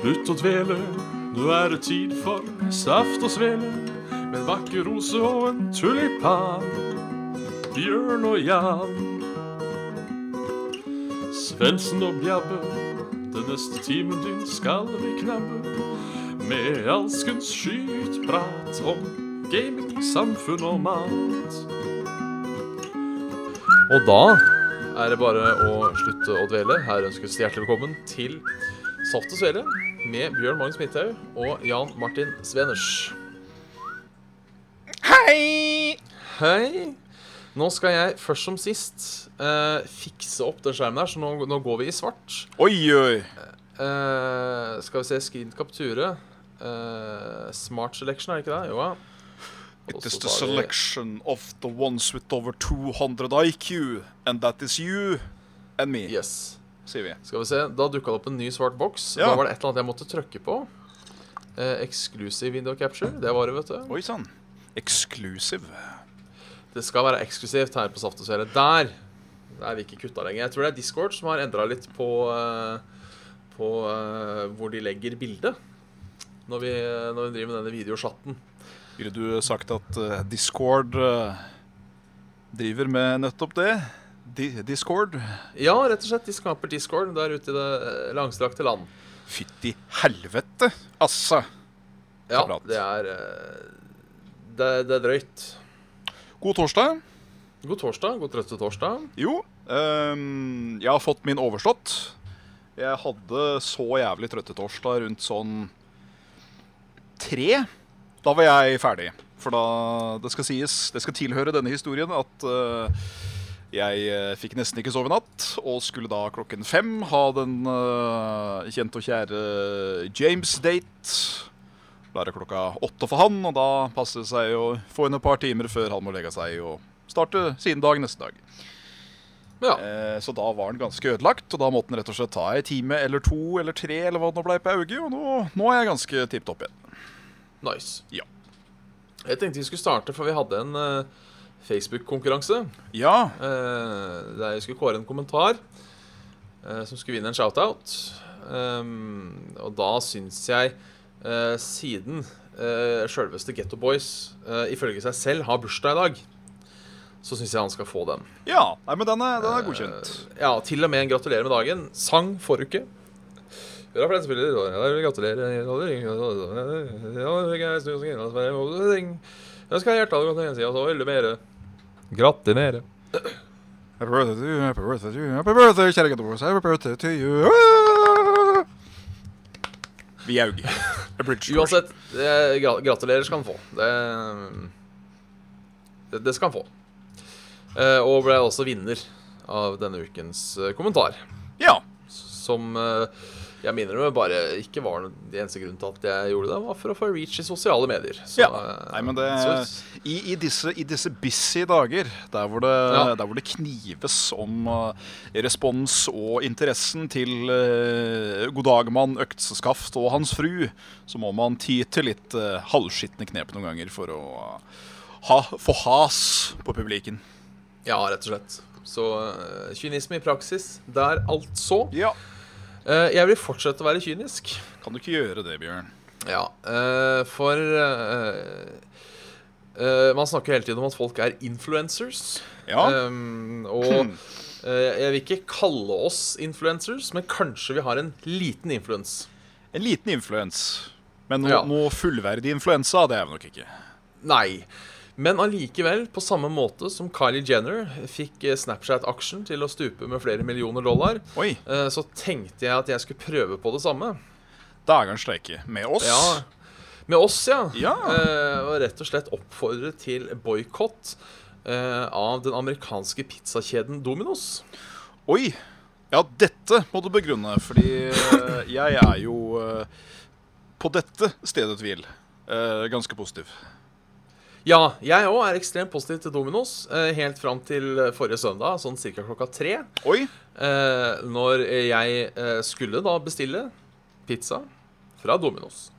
Slutt å dvele, nå er det tid for saft og svele. Med en vakker rose og en tulipan. Bjørn og Jan. Svendsen og Bjabbe, den neste timen din skal vi knabbe. Med alskens skytprat om gaming, samfunn og mat. Og da er det bare å slutte å dvele. Her ønskes det hjertelig velkommen til Saft og Svele med Bjørn Magnus Midthaug og Jan Martin Sveners. Hei! Hei. Nå skal jeg først som sist eh, fikse opp den skjermen her, så nå, nå går vi i svart. Oi, oi. Eh, skal vi se Screen Capture. Eh, smart Selection, er det ikke det? Jo, ja. It Og is så the tar vi- selection of the ones with over 200 IQ, and that is you and me, Yes. sier vi. Skal vi se, Da dukka det opp en ny svart boks. Ja. Da var det et eller annet jeg måtte trykke på. Eh, exclusive window capture. Det var det, vet du. Oi sann. Exclusive. Det skal være eksklusivt her på Saft og Svele. Der! Der er vi ikke kutta lenger. Jeg tror det er Discord som har endra litt på, eh, på eh, hvor de legger bildet. Når vi, eh, når vi driver med denne videoschatten. Ville du sagt at eh, Discord eh, driver med nettopp det? Di Discord? Ja, rett og slett. De skaper Discord der ute i det eh, langstrakte land. Fytti helvete, altså. Ja, Kamerat. det er eh, det, det er drøyt. God torsdag. God torsdag. God trøtte torsdag. Jo, ehm, jeg har fått min overstått. Jeg hadde så jævlig trøttetorsdag rundt sånn tre. Da var jeg ferdig. For da Det skal sies, det skal tilhøre denne historien at eh, jeg eh, fikk nesten ikke sove i natt, og skulle da klokken fem ha den eh, kjente og kjære James-date. Da er det klokka åtte for han, og da passer det seg å få inn et par timer før han må legge seg og starte sin dag neste dag. Men ja. Eh, Så da var den ganske ødelagt, og da måtte den rett og slett ta ei time eller to eller tre eller hva det nå blei på Auge, og nå, nå er jeg ganske tippet opp igjen. Nice. Ja. Jeg tenkte vi skulle starte, for vi hadde en eh, Facebook-konkurranse. Ja, eh, der vi skulle kåre en kommentar eh, som skulle vinne en shoutout. Um, og da syns jeg, eh, siden uh, sjølveste Getto Boys eh, ifølge seg selv har bursdag i dag, så syns jeg han skal få den. ja, nei, men den er, den er godkjent. Ja, til og med en gratulerer med dagen. Sang forrige uke. Hurra for den som spiller. Ja, jeg vil gratulere. Ja, jeg er snu og snu, og snu, og snu. Jeg skal ha hjertet av gratulerer, sier jeg, og så vil du mere. Gratinere. Eh, Happy birthday to you, happy birthday to you, happy birthday, kjære Gatteborgs, happy birthday to you. Vi er Auge. Abridged version. Uansett, eh, gra- gratulerer skal han få. Det, det, det skal han få. Eh, og ble også vinner av denne ukens eh, kommentar. Ja, Som eh, jeg minner om bare ikke var noe- det eneste grunnen til at jeg gjorde det, var for å få reach i sosiale medier. Så, Ja. eh, Nei, men det, så- i, i, disse, I disse busy dager, der hvor det, Ja. der hvor det knives om eh, respons og interessen til uh, god dag, mann, økseskaft og hans fru, så må man ty til litt uh, halvskitne knep noen ganger for å eh, ha, få has på publiken. ja, rett og slett. Så eh, kynisme i praksis der, altså. Ja. Eh, jeg vil fortsette å være kynisk. Kan du ikke gjøre det, Bjørn? Ja, eh, for eh, eh, Man snakker hele tiden om at folk er influencers. Ja. Ehm, og eh, jeg vil ikke kalle oss influencers, men kanskje vi har en liten influens. en liten influens. Men noe, Ja. noe fullverdig influensa, det er vi nok ikke. Nei. Men allikevel, på samme måte som Kylie Jenner fikk eh, Snapchat-aksjen til å stupe med flere millioner dollar, Oi, eh, så tenkte jeg at jeg skulle prøve på det samme. dageren streike. Med oss. Ja. Med oss, ja. Ja. Eh, og rett og slett oppfordre til boikott eh, av den amerikanske pizzakjeden Dominos. Oi! Ja, dette må du begrunne, fordi eh, jeg er jo eh, på dette stedet tvil. eh, ganske positiv. Ja, jeg òg er ekstremt positiv til Dominos. Eh, helt fram til eh, forrige søndag, sånn ca. klokka tre. Oi! Eh, når jeg eh, skulle da bestille pizza fra Dominos.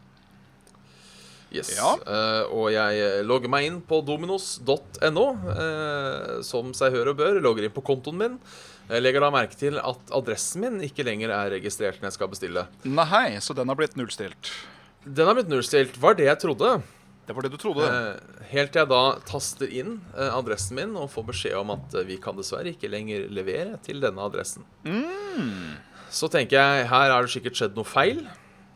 Yes. Ja. Eh, og jeg logger meg inn på dominos.no, eh, som seg hør og bør. Logger inn på kontoen min. Jeg legger da merke til at adressen min ikke lenger er registrert når jeg skal bestille. Nei, så den har blitt nullstilt. Den har blitt nullstilt, var det jeg trodde. Det var det du trodde. Eh, helt til jeg da taster inn eh, adressen min og får beskjed om at eh, vi kan dessverre ikke lenger levere til denne adressen. Mm. Så tenker jeg her er det sikkert skjedd noe feil,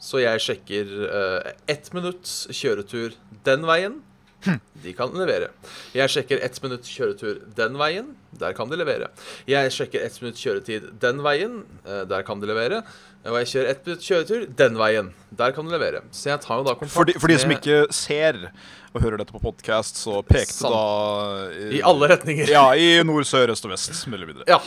så jeg sjekker eh, ett minutts kjøretur den veien. Hm. De kan levere. Jeg sjekker ett minutt kjøretur den veien. Der kan de levere. Jeg sjekker ett minutt kjøretid den veien. eh, Der kan de levere. Og jeg kjører ett minutt kjøretur den veien. Der kan de levere. Så jeg tar jo da kontakt For de, for de som med- ikke ser og hører dette på podkast, så pekte Sant. da eh, I alle retninger. Ja, i nord, sør, øst og vest. Mulig videre. Ja.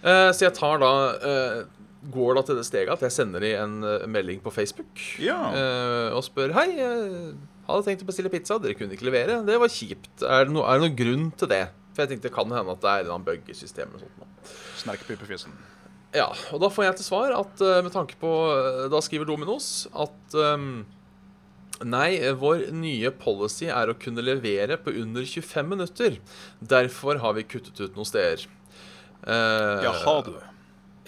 Eh, så jeg tar da eh, Går da til det steget at jeg sender de en eh, melding på Facebook Ja. eh, og spør Hei, jeg hadde tenkt å bestille pizza. Dere kunne ikke levere. Det var kjipt. Er det, no, er det noen grunn til det? For jeg tenkte det kan hende at det er en eller annen bug i systemet. og sånt nå. Snerkpipefisen. Ja, og da får jeg til svar at eh, med tanke på eh, Da skriver Dominos at ehm, Nei, eh, vår nye policy er å kunne levere på under 25 minutter. Derfor har vi kuttet ut noen steder. Eh, Jaha, du.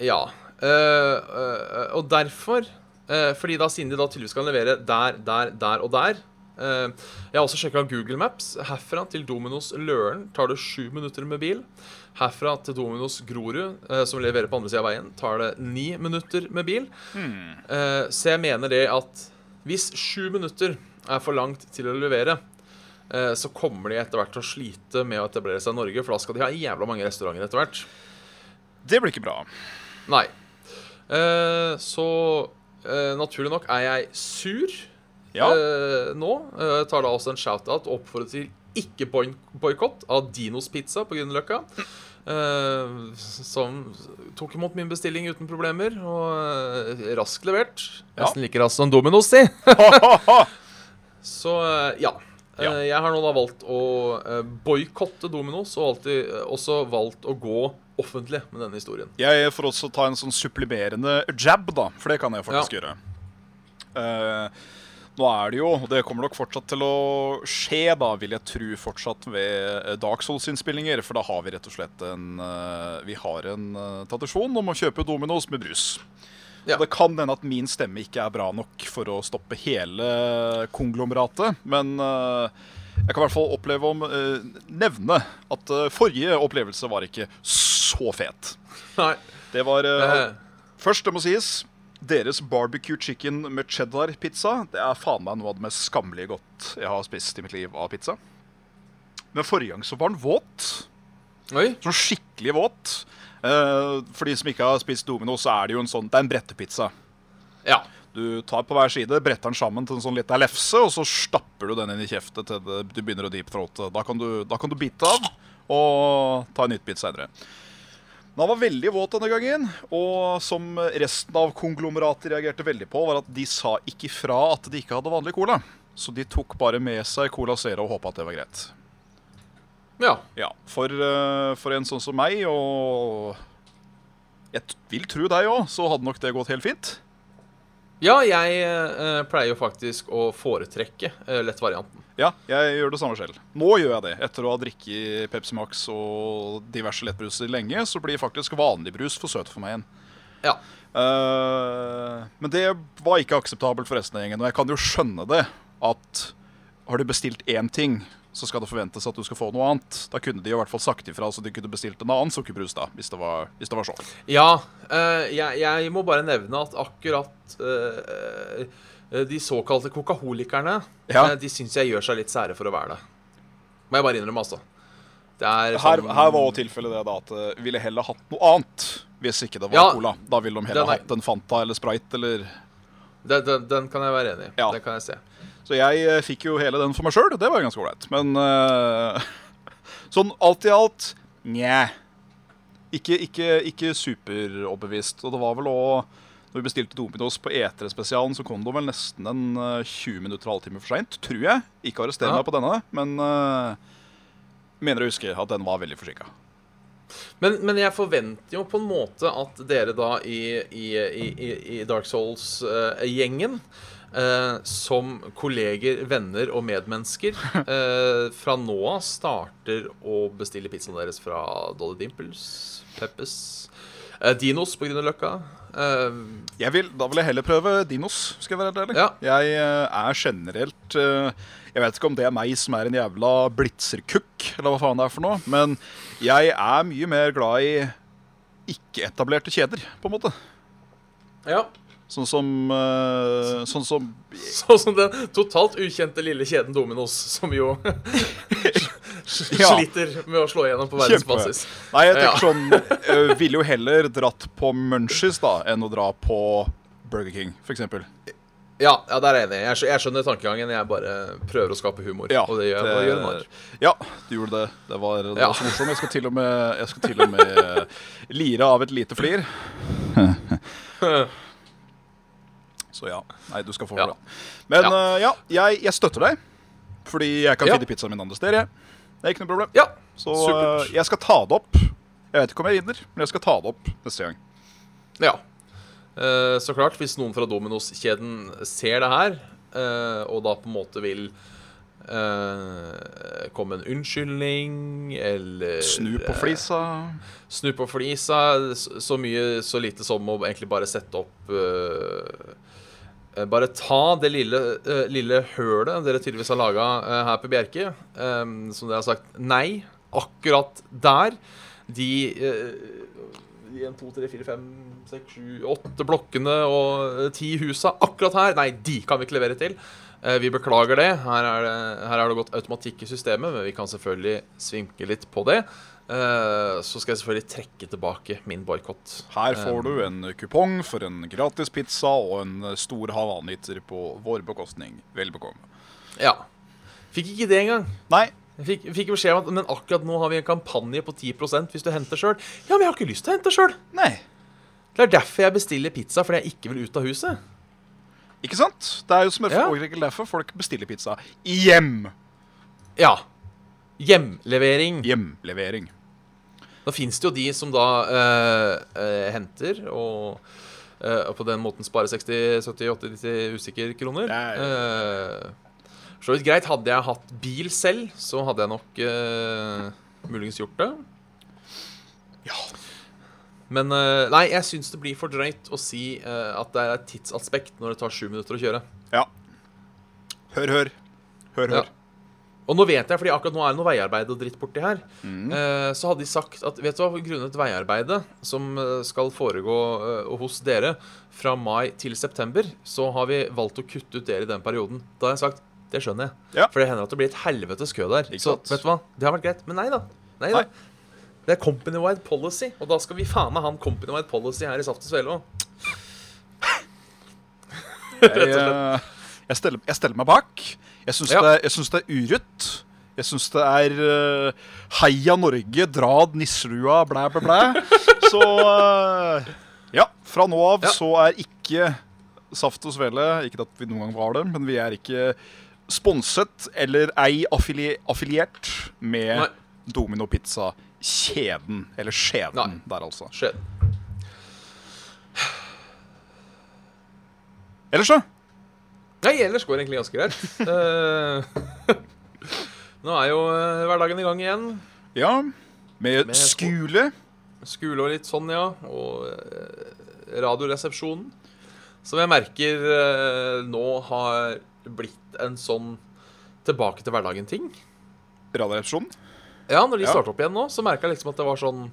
ja. Eh, eh, og derfor eh, Fordi da siden de da tydeligvis kan levere der, der, der og der eh, Jeg har også sjekka Google Maps. Herfra til Dominos Løren tar det sju minutter med bil. Herfra til Dominos Grorud, eh, som leverer på andre sida av veien, tar det ni minutter med bil. Eh, så jeg mener det at hvis sju minutter er for langt til å levere, eh, så kommer de etter hvert til å slite med å etablere seg i Norge, for da skal de ha jævla mange restauranter etter hvert. Det blir ikke bra. Nei. Eh, så eh, naturlig nok er jeg sur Ja. eh, nå. Eh, tar da også en shout-out og oppfordrer til ikke boikott av Dinos Pizza på Grünerløkka. eh, som tok imot min bestilling uten problemer, og eh, raskt levert. Ja. Nesten like raskt som Dominos, si. Eh. ja, Så eh, ja. Eh, Ja. Jeg har nå da valgt å eh, boikotte Dominos, og alltid, eh, også valgt å gå offentlig med denne historien. jeg får også ta en sånn supplimerende jab, da. For det kan jeg faktisk gjøre. Eh, nå er det jo, og det kommer nok fortsatt til å skje, da, vil jeg tro, fortsatt ved eh, Dark Souls-innspillinger. For da har vi rett og slett en eh, Vi har en eh, tradisjon om å kjøpe Dominos med brus. Ja. Og Det kan hende at min stemme ikke er bra nok for å stoppe hele konglomeratet, men eh, jeg kan i hvert fall oppleve om eh, nevne at eh, forrige opplevelse var ikke så fet. Nei. Det var eh, Eh, Først, det må sies, deres barbecue chicken med cheddar-pizza Det er faen meg noe av det mest skammelige godt jeg har spist i mitt liv av pizza. Men forrige gang så var den våt. oi. Sånn skikkelig våt. Eh, for de som ikke har spist Domino, så er det jo en sånn Det er en brettepizza. Ja. Du tar på hver side, bretter den sammen til en sånn liten lefse, og så stapper du den inn i kjeften til det, du begynner å deep-throate. Da, kan du- da kan du bite av og ta en nytt bit senere. Men han var veldig våt denne gangen, og som resten av konglomeratet reagerte veldig på, var at de sa ikke fra at de ikke hadde vanlig cola. Så de tok bare med seg Cola Zero og håpa at det var greit. Ja. Ja, for, eh, for en sånn som meg, og jeg t- vil tro deg òg, så hadde nok det gått helt fint. Ja, jeg eh, pleier jo faktisk å foretrekke eh, lettvarianten. Ja, jeg gjør det samme selv. Nå gjør jeg det. Etter å ha drikket Pepsi Max og diverse lettbruser lenge, så blir faktisk vanlig brus for søt for meg igjen. Ja. Eh, men det var ikke akseptabelt for resten av gjengen. Og jeg kan jo skjønne det, at har du bestilt én ting, så skal det forventes at du skal få noe annet. Da kunne de i hvert fall sagt ifra, så de kunne bestilt en annen sukkerbrus, da, hvis det var, hvis det var sånn. Ja, eh, jeg, jeg må bare nevne at akkurat eh, eh, de såkalte kokaholikerne, Ja. eh, de syns jeg gjør seg litt sære for å være det. Må jeg bare innrømme, altså. Det er Her, sånn- her var jo tilfellet det da at eh, ville heller hatt noe annet hvis ikke det var Ja, cola. Da ville de heller den er- hatt en Fanta eller Sprite eller den, den, den kan jeg være enig i. Ja. Den kan jeg se. Så jeg eh, fikk jo hele den for meg sjøl, det var jo ganske ålreit. Men eh, sånn alt i alt Nja. Ikke, ikke, ikke superoverbevist. Og det var vel òg Når vi bestilte Dominos på E3-spesialen, så kom det vel nesten en eh, 20 minutter og halvtime for seint, tror jeg. Ikke arrester Ja. meg på denne, men eh, mener å huske at den var veldig forsinka. Men, men jeg forventer jo på en måte at dere da i, i, i, i- i Dark Souls-gjengen eh, som kolleger, venner og medmennesker eh, fra nå av starter å bestille pizzaen deres fra Dolly Dimples, Peppes, eh, Dinos på Grünerløkka. Eh, Jeg vil, da vil jeg heller prøve Dinos, skal jeg være helt ærlig. Jeg eh, er generelt eh, Jeg vet ikke om det er meg som er en jævla blitzerkukk, eller hva faen det er for noe, men jeg er mye mer glad i ikke-etablerte kjeder, på en måte. ja. Sånn som eh, Sånn som Sånn som den totalt ukjente lille kjeden Dominos, som jo Ja. sliter med å slå igjennom på Kjempe. verdensbasis. Nei, jeg Ja. tenker sånn eh, Ville jo heller dratt på Munchies da enn å dra på Burger King, f.eks. Ja, ja, der er jeg enig. Jeg, skj jeg skjønner tankegangen. Jeg bare prøver å skape humor. Ja, og det gjør, og det gjør narr. ja, du gjorde det. Det var, det Ja. var så morsomt. Jeg skal til og med, jeg skal til og med eh, lire av et lite flir. Så ja. Nei, du skal få Ja. for det. Men eh, ja, jeg, jeg støtter deg. Fordi jeg kan Ja. finne pizzaen min andre steder. Jeg. Det er ikke noe problem. Ja, Så supert. eh, jeg skal ta det opp. Jeg vet ikke om jeg vinner, men jeg skal ta det opp neste gang. ja. Eh, så klart, hvis noen fra Dominos-kjeden ser det her, eh, og da på en måte vil eh, komme en unnskyldning, eller Snu på flisa. snu på flisa så så mye, så lite som å egentlig bare sette opp eh, eh, Bare ta det lille, eh, lille hølet dere tydeligvis har laga her på Bjerke, eh, som dere har sagt nei akkurat der. De eh, de en, to, tre, fire, fem, seks, sju, åtte blokkene og eh, ti husa akkurat her. Nei, de kan vi ikke levere til. Eh, Vi beklager det. Her er det, her er det gått automatikk i systemet, men vi kan selvfølgelig svinke litt på det. Eh, Så skal jeg selvfølgelig trekke tilbake min boikott. Her får du en kupong for en gratis pizza og en eh, stor havaniter på vår bekostning. Vel bekomme. Ja. Fikk ikke det engang. Nei, Jeg fikk, fikk beskjed om at men akkurat nå har vi en kampanje på 10 hvis du henter sjøl. Ja, men jeg har ikke lyst til å hente sjøl. nei. Det er derfor jeg bestiller pizza, fordi jeg ikke vil ut av huset. Ikke sant? Det er jo som en Ja. hovedregel derfor folk bestiller pizza. i Hjem. Ja. Hjemlevering. Hjemlevering. Da fins det jo de som da eh, eh, henter og eh, og på den måten sparer 60-70-80 usikre kroner. Ja, Eh, så vidt greit. Hadde jeg hatt bil selv, så hadde jeg nok eh, muligens gjort det. Ja. Men eh, nei, jeg syns det blir for drøyt å si eh, at det er et tidsaspekt når det tar sju minutter å kjøre. ja. Hør, hør. Hør, Ja. hør. Og nå vet jeg, fordi akkurat nå er det noe veiarbeid og dritt borti her, Mm. eh, så hadde de sagt at vet du hva, grunnet veiarbeidet som eh, skal foregå eh, hos dere fra mai til september, så har vi valgt å kutte ut dere i den perioden. Da har jeg sagt det skjønner jeg. Ja. For det hender at det blir et helvetes kø der. Ikke Så sant? vet du hva, det har vært greit. Men nei da. Nei da. Nei. Det er company-wide policy, og da skal vi faen meg ha en company-wide policy her i Saft og Svele òg. Jeg, eh, jeg, steller, jeg steller meg bak. Jeg syns Ja. det, jeg syns det er urutt. Jeg syns det er eh, Heia Norge, drad nisselua, blæ, blæ, blæ. Så eh, ja, fra nå av Ja. så er ikke Saft og Svele Ikke at vi noen gang var det, men vi er ikke sponset eller ei affili affiliert med Nei. Domino Pizza-kjeden. Eller skjeden Nei. der, altså. Skjeden. Ellers, da? Nei, ellers går det egentlig ganske greit. Eh, Nå er jo eh, hverdagen i gang igjen. Ja. Med, Med sko- skole. Skole og litt sånn, ja. Og eh, Radioresepsjonen. Som jeg merker eh, nå har blitt en sånn tilbake til hverdagen-ting. Radioresepsjonen. Ja, når de Ja. starta opp igjen nå, så merka jeg liksom at det var sånn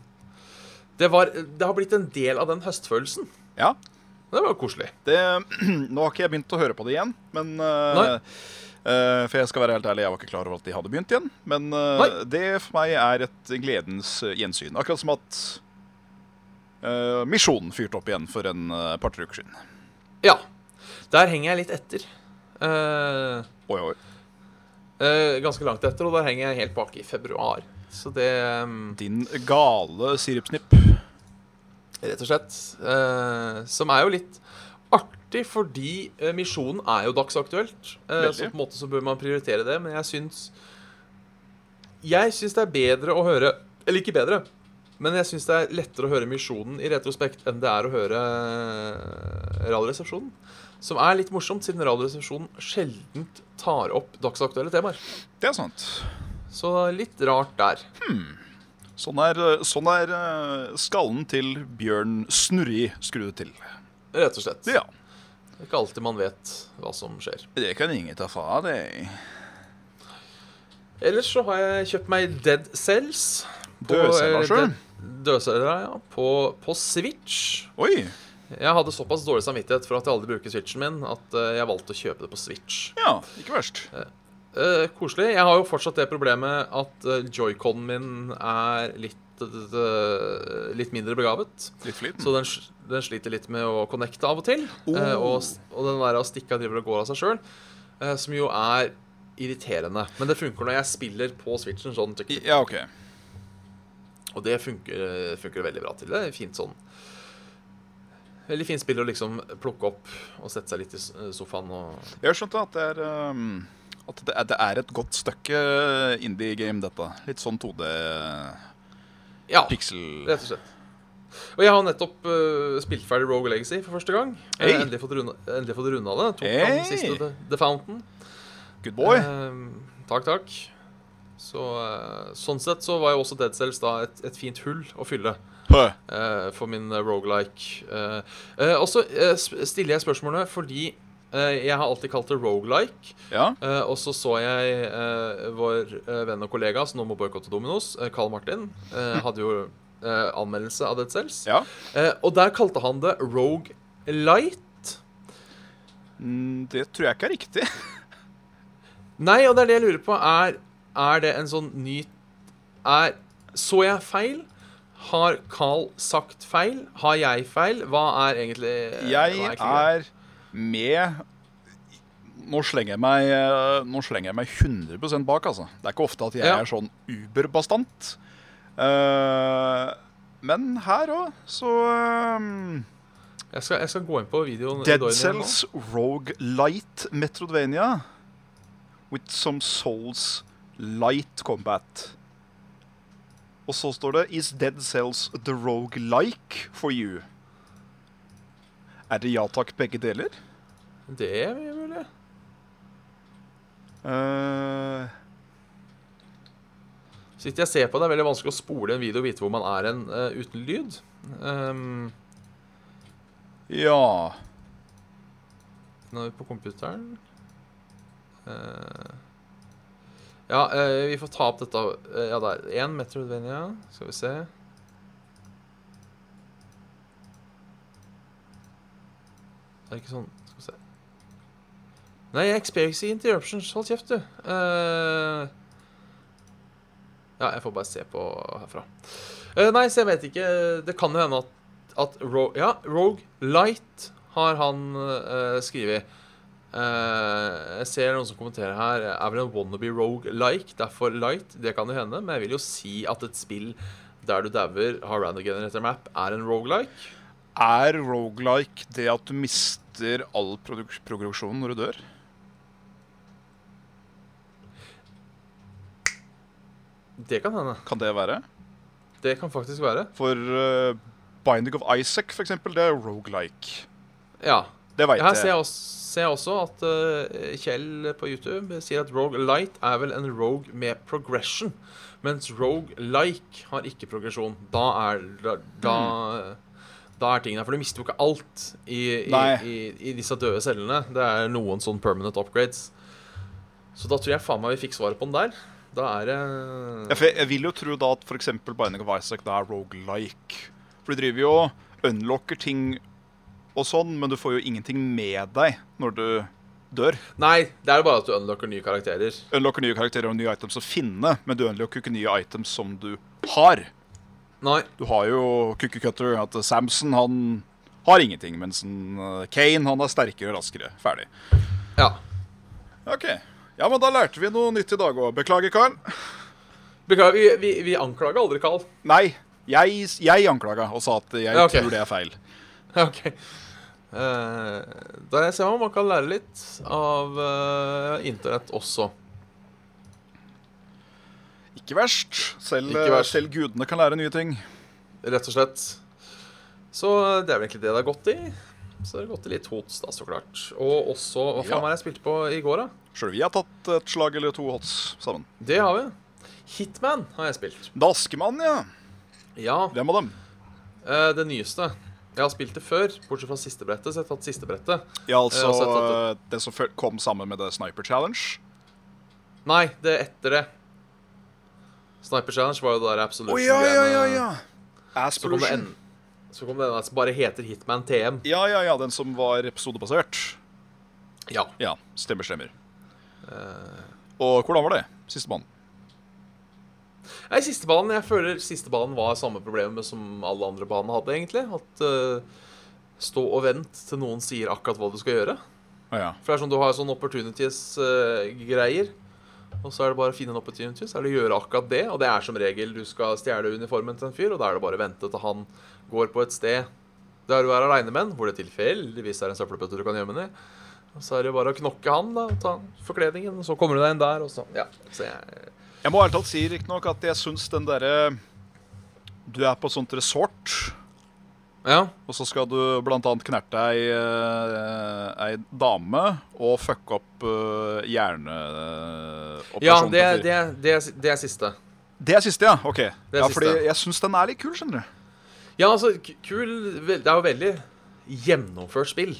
det, var, det har blitt en del av den høstfølelsen. Ja. Det var jo koselig. Det, nå har ikke jeg begynt å høre på det igjen, men eh, eh, For jeg skal være helt ærlig, jeg var ikke klar over at de hadde begynt igjen. Men eh, Nei. det for meg er et gledens eh, gjensyn. Akkurat som at eh, Misjonen fyrte opp igjen for en uh, par-tre uker siden. Ja. Der henger jeg litt etter. Eh, Oi, oi. eh, ganske langt etter, og der henger jeg helt bak i februar. Så det eh, Din gale sirupsnipp. rett og slett. Eh, som er jo litt artig, fordi eh, misjonen er jo dagsaktuelt. Eh, Veldig. så på en måte så bør man prioritere det, men jeg syns Jeg syns det er bedre å høre Eller ikke bedre, men jeg syns det er lettere å høre Misjonen i retrospekt enn det er å høre eh, Radioresepsjonen. Som er litt morsomt, siden Radioresepsjonen sjelden tar opp dagsaktuelle temaer. Det er sant. Så litt rart der. Sånn er, sånn er eh, skallen til Bjørn Snurri skrudd til. Rett og slett. Ja. Det er ikke alltid man vet hva som skjer. Det kan ingen ta fra deg. Ellers så har jeg kjøpt meg Dead Cells. Dødceller, sjø. Dead- Dødceller, ja. På, på Switch. Oi. Jeg hadde såpass dårlig samvittighet for at jeg aldri bruker Switchen min, at eh, jeg valgte å kjøpe det på Switch. Ja, ikke verst. Eh, koselig. Jeg har jo fortsatt det problemet at eh, joyconen min er litt, eh, litt mindre begavet. Litt flyt. Så den, s- den sliter litt med å connecte av og til. Oh. eh, og, s- og den der å stikke av driver og går av seg sjøl, som jo er irriterende. Men det funker når jeg spiller på switchen sånn. tuk- Ja, OK. Og det funker, funker veldig bra til. Det er fint sånn. Veldig fint spill å liksom plukke opp og sette seg litt i s- eh, sofaen og Jeg har skjønt at det er ehm, At det er, det er et godt stykke uh, indie-game, dette. Litt sånn 2D-pixel Ja. Rett og slett. Og jeg har nettopp eh, spilt ferdig Rogue Legacy for første gang. Jeg har Hey. endelig fått runda, endelig fått runda det. Tok fram den Hey. siste The, The Fountain. Good boy. Eh, takk, takk. Så, eh, sånn sett så var jo også Dead Cells da et, et fint hull å fylle Hø. eh, for min rogelike. og så eh, sp- stiller jeg spørsmålene fordi eh, jeg har alltid kalt det rogelike. Ja. Eh, og så så jeg eh, vår eh, venn og kollega som nå må boikotte Dominos, eh, Carl Martin, eh, hadde jo eh, anmeldelse av Dead Cells. ja. Eh, og der kalte han det Rogue Light. Mm, Det tror jeg ikke er riktig. Nei, og det er det jeg lurer på, er Er det en sånn ny er, Så jeg feil? Har Carl sagt feil? Har jeg feil? Hva er egentlig eh, hva Jeg egentlig greia? er med Nå slenger jeg meg, eh, nå slenger jeg meg 100 bak, altså. Det er ikke ofte at jeg Ja. er sånn uberbastant. Eh, men her òg, så eh, jeg skal, jeg skal gå inn på videoen. i Dead Doiny her nå. Cells Rogue Light Metrodvania with some souls light combat. Og så står det Is Dead Cells the Rogue like for you? Er det ja takk, begge deler? Det er mulig. Eh, Sitter jeg og ser på det, er det veldig vanskelig å spole en video og vite hvor man er en, eh, uten lyd. Ehm, ja nå er vi på computeren. Eh, ja, eh, vi får ta opp dette. eh, ja, der. Én Metroidvania. Skal vi se. Det er ikke sånn Skal vi se. Nei, jeg experiencer interruptions. Hold kjeft, du. Eh, ja, jeg får bare se på herfra. Eh, nei, så jeg vet ikke. Det kan jo hende at, at Ro Ja, Rogue Light har han eh, skrevet. Eh, jeg ser noen som kommenterer her Er vel en wannabe rogue like, derfor light. Det kan jo hende, men jeg vil jo si at et spill der du dauer, har random generator map, er en rogelike. Er roguelike det at du mister all produk progresjon når du dør? Det kan hende. Kan det være? Det kan faktisk være. For eh, Binding of Isaac, for eksempel, det er roguelike. Ja. Det veit Her jeg. ser jeg også, ser jeg også at eh, Kjell på YouTube sier at Rogue Light er vel en Rogue med progression, mens Rogue Like har ikke progresjon. Da er, da, da, da er tingene For du mister jo ikke alt i, i, Hmm. Nei. i, i disse døde cellene. Det er noen sånn permanent upgrades. Så da tror jeg faen meg vi fikk svaret på den der. Da er det Ja, for jeg, jeg vil jo tro da at f.eks. Binding of Isaac da er roguelike. For du driver jo og unlocker ting og sånn, men du får jo ingenting med deg når du dør. Nei, det er jo bare at du unlocker nye karakterer. Unlocker nye karakterer og nye items å finne, men du unlocker ikke nye items som du har. Nei. Du har jo Cookie Cutter, at Samson han har ingenting, mens en, eh, Kane han er sterkere og raskere. Ferdig. Ja. OK. Ja, men da lærte vi noe nytt i dag òg. Beklager, Karl. Beklager, vi, vi, vi anklager aldri Carl. Nei, jeg, jeg anklaga og sa at jeg Ja, ok. tror det er feil. Ja, OK. Eh, da jeg ser om man kan lære litt av eh, internett også. Ikke verst. Selv, eh, Ikke verst. selv gudene kan lære nye ting. Rett og slett. Så eh, det er vel egentlig det det er godt i. Så det har gått til litt hots, da, så klart. Og også Hva faen Ja. var det jeg spilte på i går, da? Sjøl vi har tatt et slag eller to hots sammen. Det har vi. Hitman har jeg spilt. Daskemann, ja. Ja, Hvem av dem? eh, det nyeste. Jeg har spilt det før, bortsett fra siste brettet, så jeg har tatt siste brettet. Ja, altså Eh, altså, tatt eh, det som føl- kom sammen med det Sniper Challenge. Nei, det er etter det. Sniper Challenge var jo det der absolutt eh, Så kom det en Så kom det en som bare heter Hitman TM. Ja, ja, ja, den som var episodebasert. Ja. Ja, stemmer, stemmer. Eh. Og hvordan var det? Sistemann. Nei, siste banen, Jeg føler siste banen var samme problemet som alle andre banene hadde, egentlig. At eh, stå og vent til noen sier akkurat hva du skal gjøre. Ah, ja. For det er sånn du har sånn opportunities-greier. og så er det bare å finne en opportunity, så er det å gjøre akkurat det. Og det er som regel du skal stjele uniformen til en fyr, og da er det bare å vente til han går på et sted der du er aleine med en, hvor det tilfeldigvis er en søppelbøtte du kan gjemme den i. Og så er det jo bare å knokke han, da, og ta forkledningen, og så kommer du deg inn der, og så Ja. Så jeg Jeg må ærlig talt si riktignok at jeg syns den derre Du er på et sånt resort, Ja. og så skal du blant annet knerte ei, eh, ei dame og fucke opp eh, hjerneoperasjonen. Ja, det, til en fyr. det, det, er- det er siste. Det er siste, ja? Ok. er ja, siste. fordi jeg syns den er litt kul, skjønner du. Ja, altså, k- kul vel- Det er jo veldig gjennomført spill.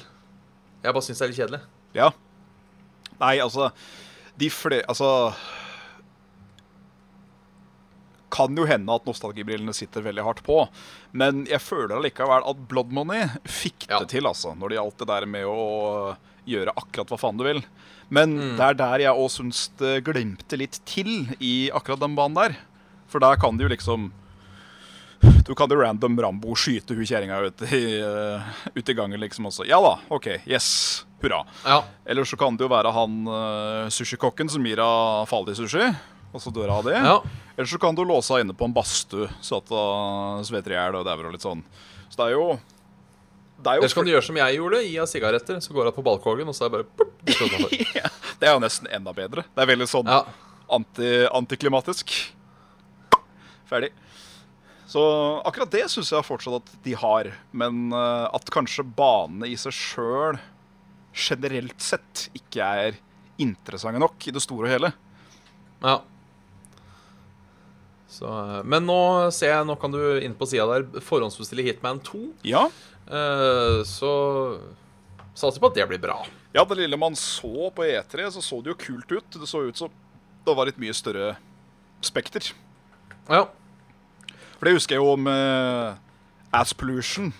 Jeg bare syns det er litt kjedelig. Ja. Nei, altså De fle... Altså Kan jo hende at nostalgibrillene sitter veldig hardt på, men jeg føler allikevel at Blood Money fikk det Ja. til, altså, når det gjaldt det der med å gjøre akkurat hva faen du vil. Men det er der jeg òg syns det glimter litt til i akkurat den banen der. For der kan du jo liksom Du kan jo random Rambo skyte hun kjerringa ute i, eh, ute i gangen, liksom. Også. Ja da, OK. Yes. Hurra. Ja. Eller så kan det jo være han uh, sushikokken som gir henne faldig sushi, og så dør hun av det. Ja. Eller så kan du låse henne inne på en badstue, så at hun svetter i hjel og dauer og litt sånn. Så det er jo Det er jo Eller så kan du gjøre som jeg gjorde, gi av sigaretter, så går jeg på balkongen, og så er jeg bare pop, det står utenfor. Det er jo nesten enda bedre. Det er veldig sånn Ja. anti, antiklimatisk. Ferdig. Så akkurat det syns jeg fortsatt at de har. Men eh, at kanskje banene i seg sjøl generelt sett ikke er interessante nok i det store og hele. ja. Så, eh, men nå ser jeg, nå kan du inn på sida der forhåndsbestille Hitman 2. Ja. Eh, så satser på at det blir bra. Ja, det lille man så på E3, så så det jo kult ut. Det så ut som det var litt mye større spekter. Ja. For det husker jeg jo med Ass Pollution.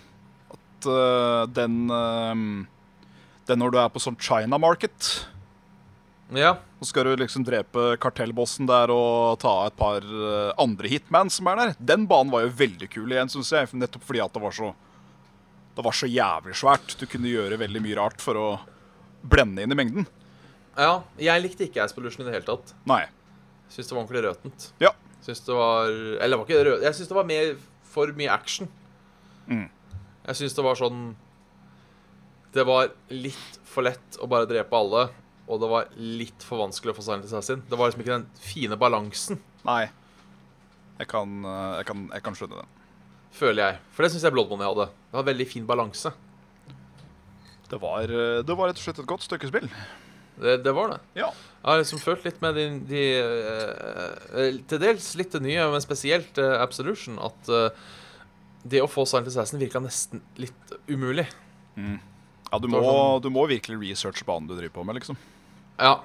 At eh, den eh, Den når du er på sånn China Market, Ja. så skal du liksom drepe kartellbossen der og ta et par eh, andre hitman som er der. Den banen var jo veldig kul igjen, syns jeg. Nettopp fordi at det var så Det var så jævlig svært. Du kunne gjøre veldig mye rart for å blende inn i mengden. ja. Jeg likte ikke Aspolution i det hele tatt. Nei. Syns det var ordentlig røtent. Ja. Syns det var Eller det var ikke rød... Jeg syns det var mer, for mye action. Mm. Jeg syns det var sånn Det var litt for lett å bare drepe alle. Og det var litt for vanskelig å få Silent Assassin. Det var liksom ikke den fine balansen, Nei. Jeg kan, eh, jeg kan, jeg kan skjønne den. føler jeg. For det syns jeg Bloodmoney hadde. Det var veldig fin balanse. Det var, eh, det var rett og slett et godt stykke spill. Det, det var det. Ja. Jeg har liksom følt litt med de, de eh, eh, Til dels litt det nye, men spesielt eh, Absolution, at eh, det å få Silent Assassin virka nesten litt umulig. ja du, Det må, var sånn- du må virkelig researche banen du driver på med, liksom. Ja.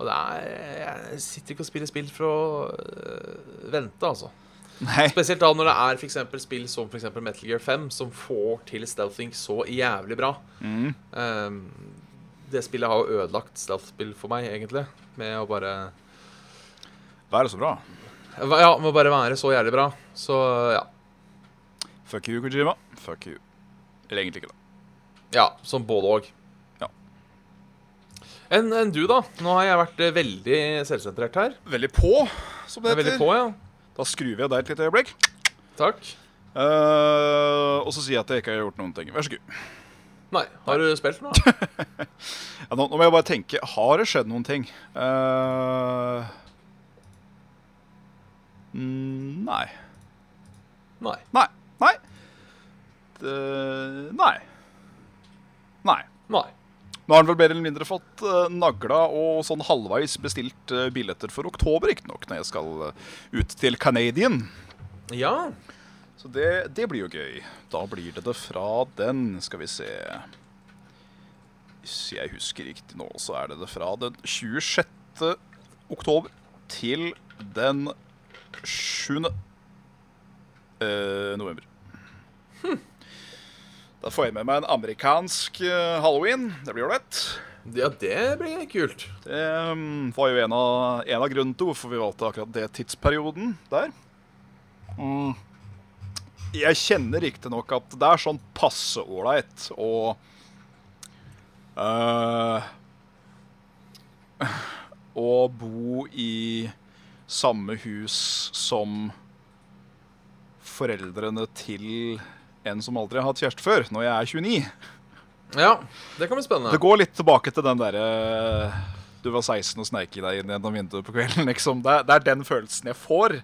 Og det er Jeg sitter ikke og spiller spill for å øh, vente, altså. Nei. Spesielt da når det er for eksempel spill som for eksempel Metal Gear 5, som får til stealthing så jævlig bra. Mm. Ehm, det spillet har jo ødelagt stealth-spill for meg, egentlig. Med å bare Da er det så bra. Ja, med å bare være så jævlig bra. Så ja. Fuck you, Kojima. Fuck you. Eller egentlig ikke, da. Ja, som både og. Ja. Enn enn du, da? Nå har jeg vært eh, veldig selvsentrert her. Veldig på, som Jeg det er veldig heter. på, ja. Da skrur jeg deg et lite øyeblikk. Takk. Eh, og så sier jeg at jeg ikke har gjort noen ting. Vær så god. Nei, har du spilt noe? Ja, nå, nå må jeg bare tenke. Har det skjedd noen ting? Eh, mm, nei. Nei. Nei. Nei. Det, nei. Nei. Nei. Nå har han vel mer eller mindre fått eh, nagla og sånn halvveis bestilt eh, billetter for oktober, riktignok, når jeg skal eh, ut til Canadian. Ja. Så det, det blir jo gøy. Da blir det det fra den, skal vi se Hvis jeg husker riktig nå, så er det det fra den 26. oktober til den 7. eh, november. Da får jeg med meg en amerikansk eh, halloween. Det blir ålreit. ja, det blir kult. Det mm, var jo en av, en av grunnen til hvorfor vi valgte akkurat det tidsperioden der. Mm. Jeg kjenner riktignok at det er sånn passe ålreit å eh, Å bo i samme hus som foreldrene til en som aldri har hatt kjæreste før, når jeg er 29. Ja, det kan bli spennende. Det går litt tilbake til den derre Du var 16 og sneik deg inn gjennom vinduet på kvelden, liksom. Det er, det er den følelsen jeg får.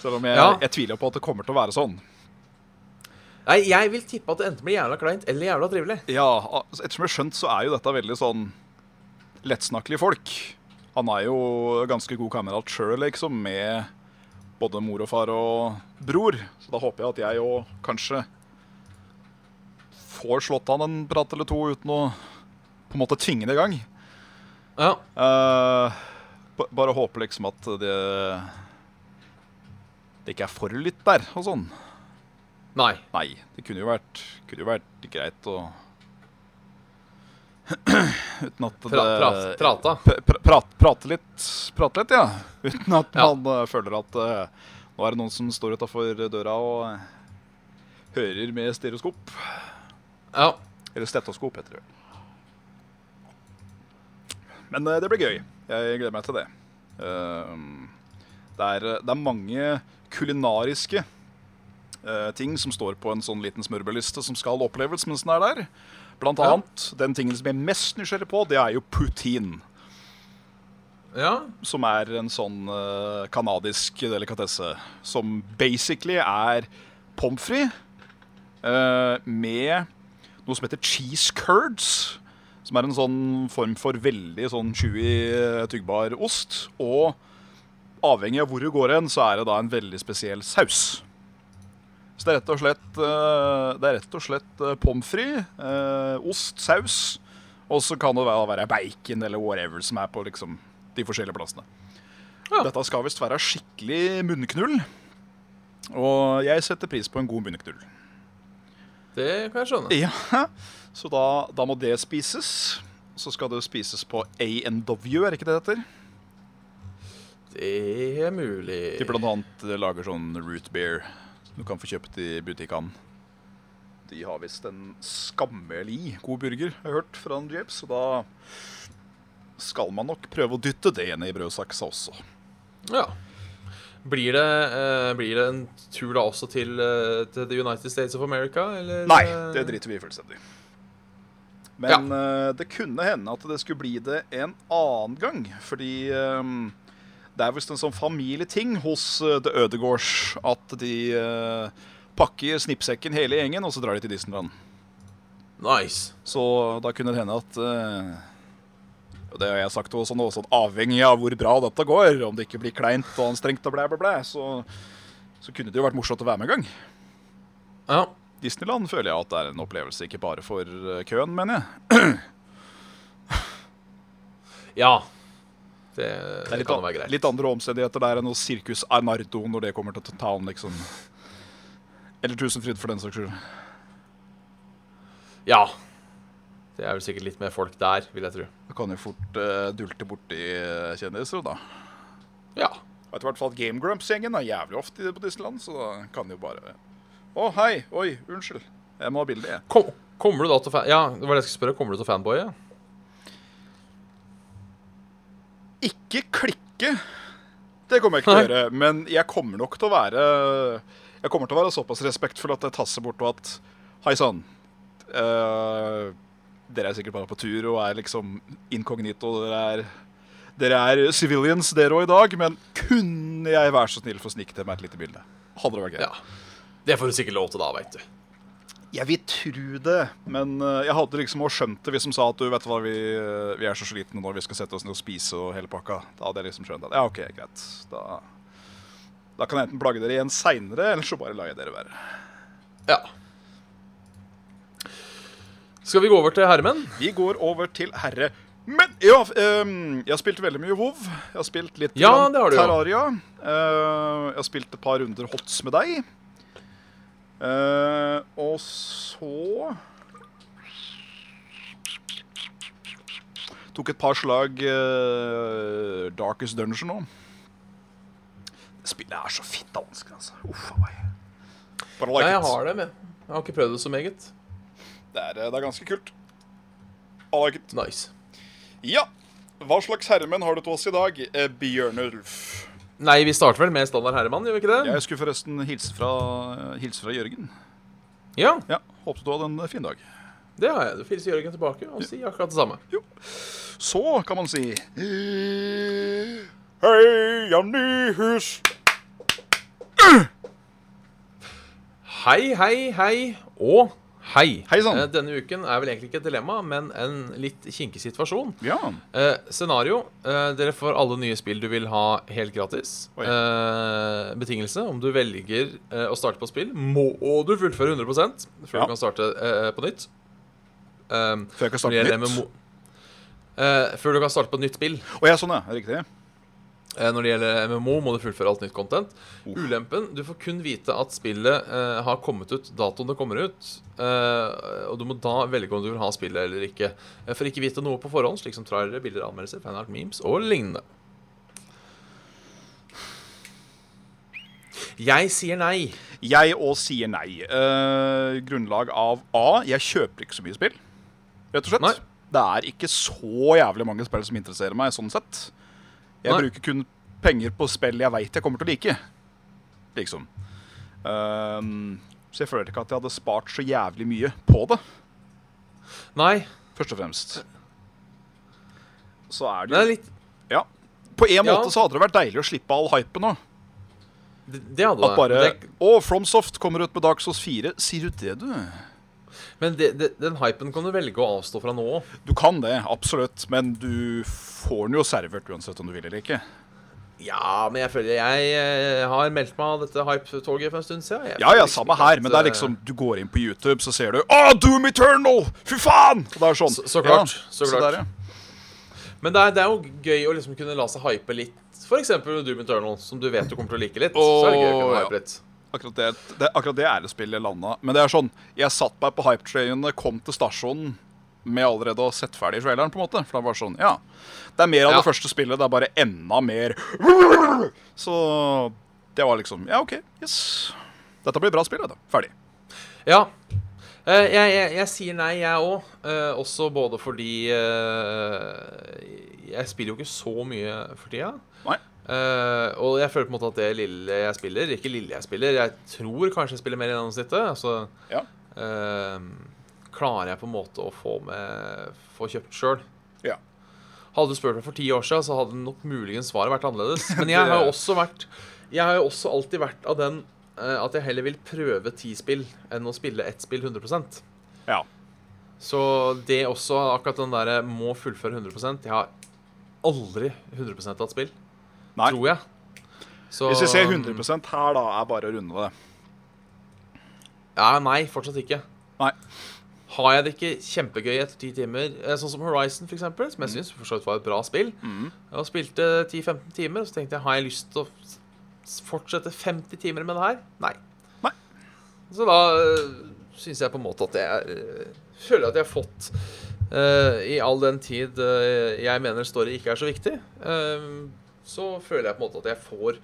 Selv om jeg, Ja. jeg tviler på at det kommer til å være sånn. Nei, jeg vil tippe at det enten blir jævla kleint eller jævla trivelig. Ja, altså, ettersom jeg har skjønt, så er jo dette veldig sånn lettsnakkelige folk. Han er jo ganske god kamerat sjøl, liksom, med både mor og far og bror. Så da håper jeg at jeg òg kanskje får slått han en prat eller to uten å på en måte tvinge det i gang. Ja. Eh, ba- bare håper liksom at det Det ikke er for lytt der og sånn. Nei. Nei, det kunne jo vært, kunne jo vært greit å Uten at Pra, pra, prata. P- pra- prat, prate litt, prate litt, ja. Uten at Ja. man eh, føler at eh, nå er det noen som står utafor døra og eh, hører med stereoskop. Ja. Eller stetoskop, heter det. Men eh, det blir gøy. Jeg gleder meg til det. Ehm, det, er, det er mange kulinariske eh, ting som står på en sånn liten smørbrødliste som skal oppleves mens den er der. Blant Ja. annet, den tingen som jeg er mest nysgjerrig på, det er jo poutine. Ja. Som er en sånn eh, kanadisk delikatesse. Som basically er pommes frites eh, med noe som heter cheese curds. Som er en sånn form for veldig sånn chewy, eh, tyggbar ost. Og avhengig av hvor du går hen, så er det da en veldig spesiell saus. Så det er rett og slett, eh, det er rett og slett eh, pommes frites, eh, ost, saus. Og så kan det være- være bacon eller whatever som er på liksom, de forskjellige plassene. Ja. Dette skal visst være skikkelig munnknull. Og jeg setter pris på en god munnknull. Det kan jeg skjønne. Ja, Så da, da må det spises. Så skal det spises på A&W, er ikke det det heter? Det er mulig. De blant annet lager sånn root beer som du kan få kjøpt i butikkene. De har visst en skammelig god burger, har jeg hørt fra en James. Så da skal man nok prøve å dytte det inn i brødsaksa også. Ja. Blir det, eh, blir det en tur da også til, eh, til The United States of America, eller? Nei, eh, det driter vi i fullstendig. Men eh, det kunne hende at det skulle bli det en annen gang, fordi eh, det er visst en sånn familieting hos eh, The Ødegårds at de eh, pakker snippsekken hele gjengen, og så drar de til Disneyland. Nice. Så da kunne det hende at eh, og Det har jeg sagt også nå, sånn avhengig av hvor bra dette går, om det ikke blir kleint og anstrengt og blæ, blæ, blæ, så, så kunne det jo vært morsomt å være med en gang. Ja. Disneyland føler jeg at det er en opplevelse, ikke bare for eh, køen, mener jeg. Ja. Det, Det er litt, kan an- være greit. litt andre omstendigheter der enn hos Sirkus Arnardo når det kommer til town, liksom. Eller Tusenfryd, for den saks skyld. Ja. Det er vel sikkert litt mer folk der, vil jeg tro. Du kan jo fort eh, dulte borti eh, kjendiser, da. Ja. Og etter hvert fall Game Grumps-gjengen er jævlig ofte på Disneyland, så da kan de jo bare Å, hei. Oi, unnskyld. Jeg må ha bilde, jeg. Kom, kommer du da til fan... Ja, det var det jeg skulle spørre. Kommer du til fanboye? Ikke klikke. Det kommer jeg ikke til å gjøre, men jeg kommer nok til å være Jeg kommer til å være såpass respektfull at jeg tasser bort og at Hei sann. eh, dere er sikkert bare på tur og er liksom inkognito. Dere er, dere er civilians, dere òg, i dag. Men kunne jeg være så snill for å snike til meg et lite bilde? Hadde det vært gøy. Ja. Det får du sikkert lov til da, veit du. Jeg vil tro det, men eh, jeg hadde liksom også skjønt det hvis de sa at du vet du hva, vi, eh, vi er så slitne når vi skal sette oss ned og spise og hele pakka. Da hadde jeg liksom skjønt at ja, OK, greit. Da, da kan jeg enten plage dere igjen seinere, eller så bare lar jeg dere være. Ja. Skal vi gå over til herremenn? Vi går over til herre. Men ja, ehm, jeg har spilt veldig mye WoW. Jeg har spilt litt Ja, grann det har du jo. Terraria. Eh, jeg har spilt et par runder HOTS med deg. Eh, og så Tok et par slag eh, Darkest Dungeon nå. Spillet er så fitta vanskelig, altså. Uff a meg. Bare like Nei, jeg it. har dem, jeg. Jeg har ikke prøvd det så meget. Det er, eh, det er ganske kult. I like it. Nice. Ja. Hva slags herremenn har du til oss i dag, eh, Bjørnulf? Nei, vi starter vel med standard herremann, gjør vi ikke det? Jeg skulle forresten hilse fra, eh, hilse fra Jørgen. Ja, Ja, Håpet du hadde en eh, fin dag. det har jeg. Du får hilse Jørgen tilbake og si akkurat det samme. Så kan man si Eh, Hei, jeg er Nyhus. Hei, hei, hei og hei. Hei sann. Eh, Denne uken er vel egentlig ikke et dilemma, men en litt kinkig situasjon. Ja. Eh, scenario. Eh, dere får alle nye spill du vil ha helt gratis. Oi. Eh, betingelse om du velger eh, å starte på spill, må du fullføre 100 før Ja. du kan starte eh, på nytt. Um, Før når jeg kan det starte gjelder nytt? MMO Eh, før du kan starte på et nytt spill. Å ja, sånn ja. Riktig. Eh, Når det gjelder MMO, må du fullføre alt nytt content. Ulempen Du får kun vite at spillet eh, har kommet ut datoen det kommer ut. eh, og du må da velge om du vil ha spillet eller ikke. Eh, for ikke vite noe på forhånd, slik som trailere, bilder, anmeldelser, fanart, memes og lignende. Jeg sier nei. Jeg òg sier nei. Eh, grunnlag av A. Jeg kjøper ikke så mye spill, rett og slett. Nei. Det er ikke så jævlig mange spill som interesserer meg, sånn sett. Jeg Nei. bruker kun penger på spill jeg veit jeg kommer til å like. Liksom. Ehm, så jeg føler ikke at jeg hadde spart så jævlig mye på det, Nei. først og fremst. Så er Det, det er jo litt, Ja. På en Ja. måte så hadde det vært deilig å slippe all hypen nå. det, det hadde At bare det. Å, FromSoft kommer ut med Dark Souls 4. Sier du det, du? Men det, det, den hypen kan du velge å avstå fra nå òg. Du kan det, absolutt, men du får den jo servert uansett om du vil eller ikke. Ja, men jeg føler jeg eh, har meldt meg av dette hype-toget for en stund siden. Jeg Ja føler ja, liksom samme ikke her, at, men det er eh, liksom Du går inn på YouTube, så ser du Å, Doom Eternal! Fy faen! Og det er sånn. Så- så klart, så klart. der, ja. Men det er, det er jo gøy å liksom kunne la seg hype litt. For eksempel Doom Eternal, som du vet du kommer til å like litt. så er det gøy å kunne Åh, hype litt. Akkurat det, det, akkurat det er det spillet jeg landa. Men det er sånn, jeg satt meg på hypetrainet, kom til stasjonen med allerede å sett ferdig traileren, på en måte. For det er bare sånn, ja. Det er mer av Ja. det første spillet, det er bare enda mer Så det var liksom Ja, OK. Yes. Dette blir bra spill, dette. Ferdig. Ja. Eh, jeg, jeg, jeg sier nei, jeg òg. Eh, også både fordi eh, Jeg spiller jo ikke så mye for tida. Nei. Eh, og jeg føler på en måte at det lille jeg spiller Ikke lille jeg spiller, jeg tror kanskje jeg spiller mer enn gjennomsnittet. Altså, Ja. eh, klarer jeg på en måte å få, med, få kjøpt sjøl. Ja. Hadde du spurt meg for ti år siden, så hadde nok muligens svaret vært annerledes. Men jeg har jo også vært Jeg har jo også alltid vært av den eh, at jeg heller vil prøve ti spill enn å spille ett spill 100 ja. Så det også, akkurat den derre må fullføre 100 Jeg har aldri 100 hatt spill, Nei. tror jeg. Så- Hvis vi ser 100 her, da, er bare å runde det. Ja, nei, fortsatt ikke. Nei. Har jeg det ikke kjempegøy etter ti timer, eh, sånn som Horizon, for eksempel, som jeg Mm. syns for så vidt var et bra spill, og spilte 10-15 timer, så tenkte jeg har jeg lyst til å s- s- fortsette 50 timer med det her? Nei. Nei. Så da syns jeg på en måte at jeg eh, føler at jeg har fått eh, I all den tid eh, jeg mener story ikke er så viktig, eh, så føler jeg på en måte at jeg får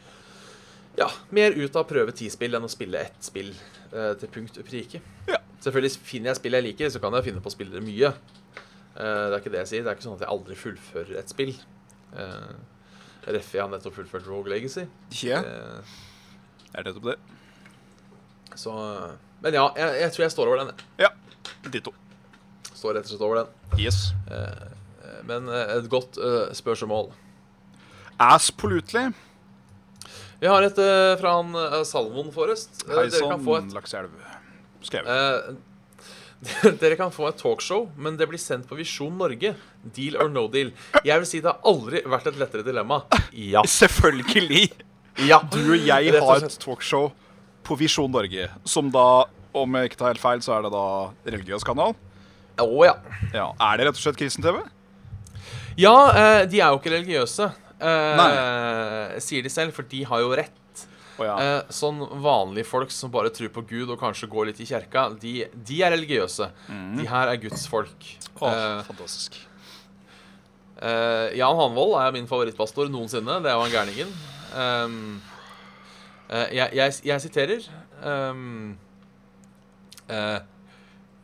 ja, mer ut av å prøve ti spill enn å spille ett spill eh, til punkt og prike. Ja. Selvfølgelig finner jeg spill jeg liker, så kan jeg finne på å spille det mye. Eh, det er ikke det jeg sier. Det er ikke sånn at jeg aldri fullfører et spill. Uh, Reffi har nettopp fullført Rogue Legacy. Ja. Eh, Er det nettopp det? så Men ja, jeg, jeg tror jeg står over den. jeg. Ja. Ditto. Står rett og slett over den. Yes. Eh, Men eh, et godt eh, spørsmål. Ass polutelig. Vi har et eh, fra han eh, Salmon Forrest. Eh, dere Hei sann, kan få et Lakseelv. Skrevet. Eh, Dere kan få et talkshow, men det blir sendt på Visjon Norge. Deal or no deal. Jeg vil si det har aldri vært et lettere dilemma. Ja. Selvfølgelig! ja. Du og jeg Rett og har slett. et talkshow på Visjon Norge, som da, om jeg ikke tar helt feil, så er det da religiøs kanal. Å ja. Ja. Er det rett og slett kristen-TV? Ja, eh, de er jo ikke religiøse, eh, sier de selv, for de har jo rett. Å ja. Eh, sånn vanlige folk som bare tror på Gud og kanskje går litt i kjerka, de, de er religiøse. De her er Guds folk. Åh, Eh, fantastisk. Eh, Jan Hanvold er min favorittpastor noensinne. Det er jo han gærningen. Ehm, eh, jeg, jeg, jeg siterer ehm, eh,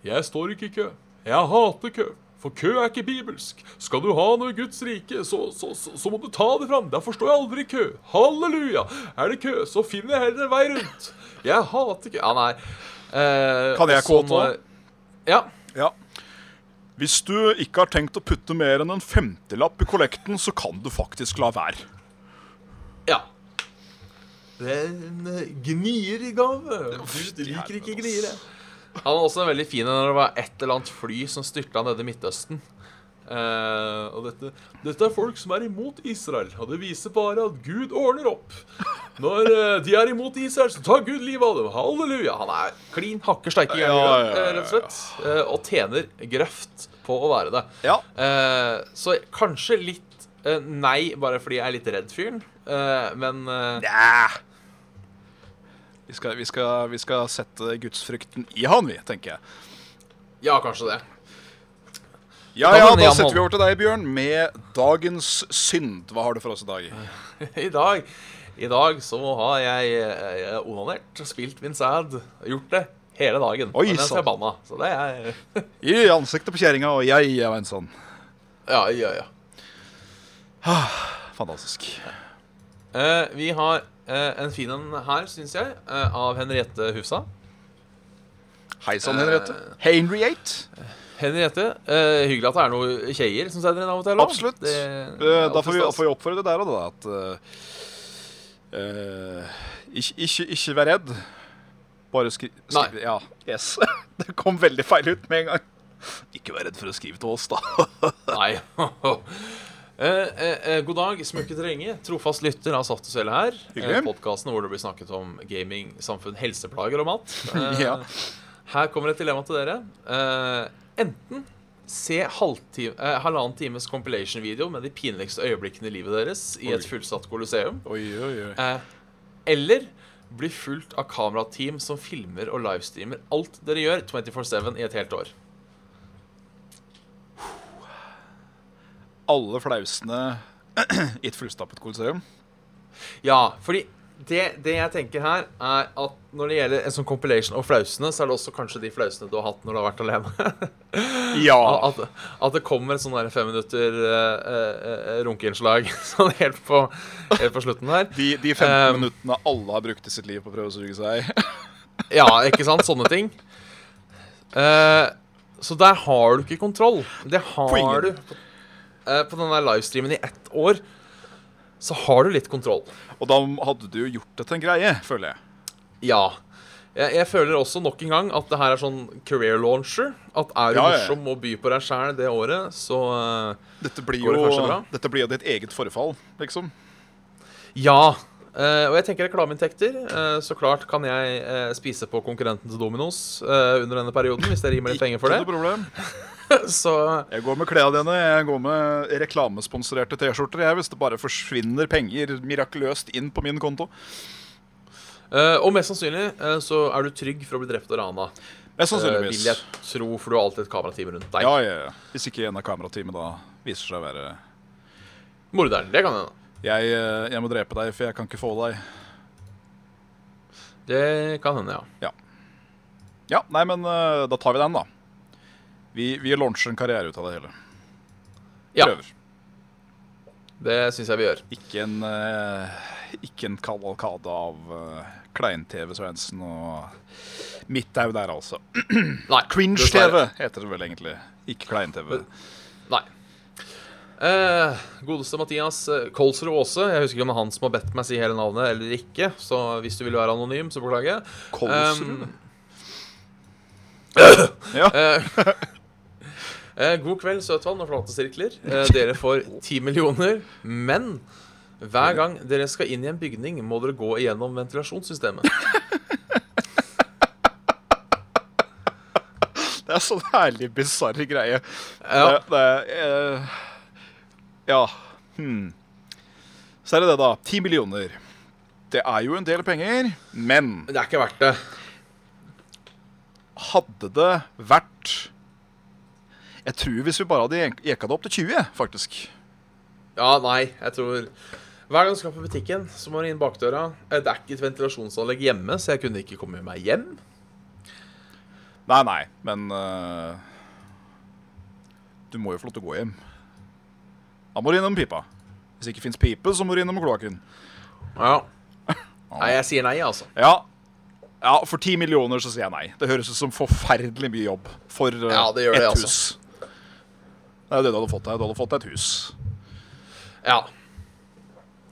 Jeg står ikke i kø. Jeg hater kø. For kø er ikke bibelsk. Skal du ha noe i Guds rike, så, så, så, så må du ta det fram. Derfor står jeg aldri i kø. Halleluja! Er det kø, så finner jeg heller en vei rundt. Jeg hater kø. Ja, nei. Eh, Kan og jeg så quote må nå? jeg- Ja. Ja. Hvis du ikke har tenkt å putte mer enn en femtilapp i kollekten, så kan du faktisk la være. Ja. Det er en eh, gnier i gave. Du liker ikke gniere. altså. Han var også veldig fin når det var et eller annet fly som styrta nede i Midtøsten. Eh, og dette, dette er folk som er imot Israel, og det viser bare at Gud ordner opp. Når eh, de er imot Israel, så tar Gud livet av dem. Halleluja. Han er klin hakke steike gæren, Ja, ja, ja, eh, rett og slett. eh, og tjener grøft på å være det. Ja. Eh, så kanskje litt eh, nei, bare fordi jeg er litt redd fyren. Eh, men eh, Ah. Vi skal, vi, skal, vi skal sette gudsfrykten i han, vi, tenker jeg. ja, kanskje det. Ja, Da ja, vender da jeg setter vi mål. over til deg, Bjørn, med dagens synd. Hva har du for oss i dag? I dag, I dag så har jeg eh, onanert, spilt min sæd, gjort det hele dagen. Oi, men jeg sann. er banna, så det er I ansiktet på kjerringa, og jeg er en sånn. Ja, ja, ja. Fantastisk. Eh, vi har eh, en fin en her, syns jeg, eh, av Henriette Hufsa. Hei sann, Eh, Henriette. Henriette. Henriette, eh, hyggelig at det er noen kjeier som sender inn av og til. da. Absolutt. Det, Eh, Da får vi, alltid stas. får vi oppfordre deg da, at eh, eh, ikke, ikke, ikke vær redd. Bare skri... Nei. skri ja, yes. Det kom veldig feil ut med en gang. Ikke vær redd for å skrive til oss, da. Nei. Eh, eh, eh, god dag, smykke terrenget. Trofast lytter av Saft og Svele her. Hyggelig. Podkasten hvor det blir snakket om gaming, samfunn, helseplager og mat. Eh, Ja. Her kommer et dilemma til dere. Eh, enten se halvtime, eh, halvannen times compilation-video med de pinligste øyeblikkene i livet deres i et Oi. fullsatt kolosseum. Oi, oi, oi. Eh, eller bli fulgt av kamerateam som filmer og livestreamer alt dere gjør 24-7 i et helt år. Alle flausene i et fullstappet kolosseum. Ja, fordi det, det jeg tenker her, er at når det gjelder en sånn compilation og flausene, så er det også kanskje de flausene du har hatt når du har vært alene. Ja. At, at det kommer et sånn der fem minutter eh, eh, eh, runkeinnslag sånn helt på, helt på slutten her. De, de 15 Um, minuttene alle har brukt i sitt liv på å prøve å suge seg. Ja, ikke sant? Sånne ting. Eh, så der har du ikke kontroll. Det ingen. har du. På, eh, på den der livestreamen i ett år så har du litt kontroll. Og da hadde du jo gjort det til en greie, føler jeg. Ja. Jeg, jeg føler også nok en gang at det her er sånn career launcher. At er du Ja, ja, ja. morsom og by på deg sjæl det året, så eh, Dette blir, Går det kanskje jo, bra? dette blir jo ditt eget forfall, liksom. ja. Eh, og jeg tenker reklameinntekter. Eh, så klart kan jeg eh, spise på konkurrenten til Dominos eh, under denne perioden, hvis dere gir meg litt penger for Ikke noe det. problem. Så Jeg går med klærne dine, jeg går med reklamesponsorerte T-skjorter. jeg, Hvis det bare forsvinner penger mirakuløst inn på min konto. eh, Og mest sannsynlig eh, så er du trygg for å bli drept og rana. Mest Eh, sannsynligvis. vil jeg tro, for du har alltid et kamerateam rundt deg. Ja, ja, ja. Hvis ikke en av kamerateamet da viser seg å være Morderen. Det kan hende. jeg, eh, jeg må drepe deg, for jeg kan ikke få deg. Det kan hende, ja. Ja, nei, men eh, da tar vi den, da. Vi, vi launcher en karriere ut av det hele. Ja, Prøver. Det syns jeg vi gjør. Ikke en, eh, ikke en kavalkade av eh, Klein-TV Svendsen og Midthaug der, altså. Nei, Cringe-TV dessverre. heter det vel egentlig. Ikke Klein-TV. Nei. Eh, godeste Mathias eh, Kolsrud Aase. Jeg husker ikke om det er han som har bedt meg si hele navnet eller Ehm, ikke. Så hvis du vil være anonym, så beklager jeg. Kolsrud? Um, Ja. Eh, eh, god kveld, Søtvann og Flatesirkler. Eh, dere får ti millioner, men hver gang dere skal inn i en bygning, må dere gå igjennom ventilasjonssystemet. Det er sånn herlig bisarr greie. Ja, Det, det, eh, ja. Hmm. Så er det det, da. Ti millioner. Det er jo en del penger, men det er ikke verdt det. hadde det vært Jeg tror hvis vi bare hadde jek- jekka det opp til 20, faktisk. Ja, nei, jeg tror Hver gang du skal på butikken, så må du inn bakdøra. Eh, Det er ikke et ventilasjonsanlegg hjemme, så jeg kunne ikke komme meg hjem. Nei, nei, men eh, Du må jo få lov til å gå hjem. Da må du innom pipa. Hvis det ikke fins pipe, så må du innom kloakken. Ja. Nei, jeg sier nei, altså. Ja. ja, for ti millioner så sier jeg nei. Det høres ut som forferdelig mye jobb for eh, Ja, det gjør ett det, altså. hus. Det er jo det du hadde fått deg. Du hadde fått deg et hus. Ja.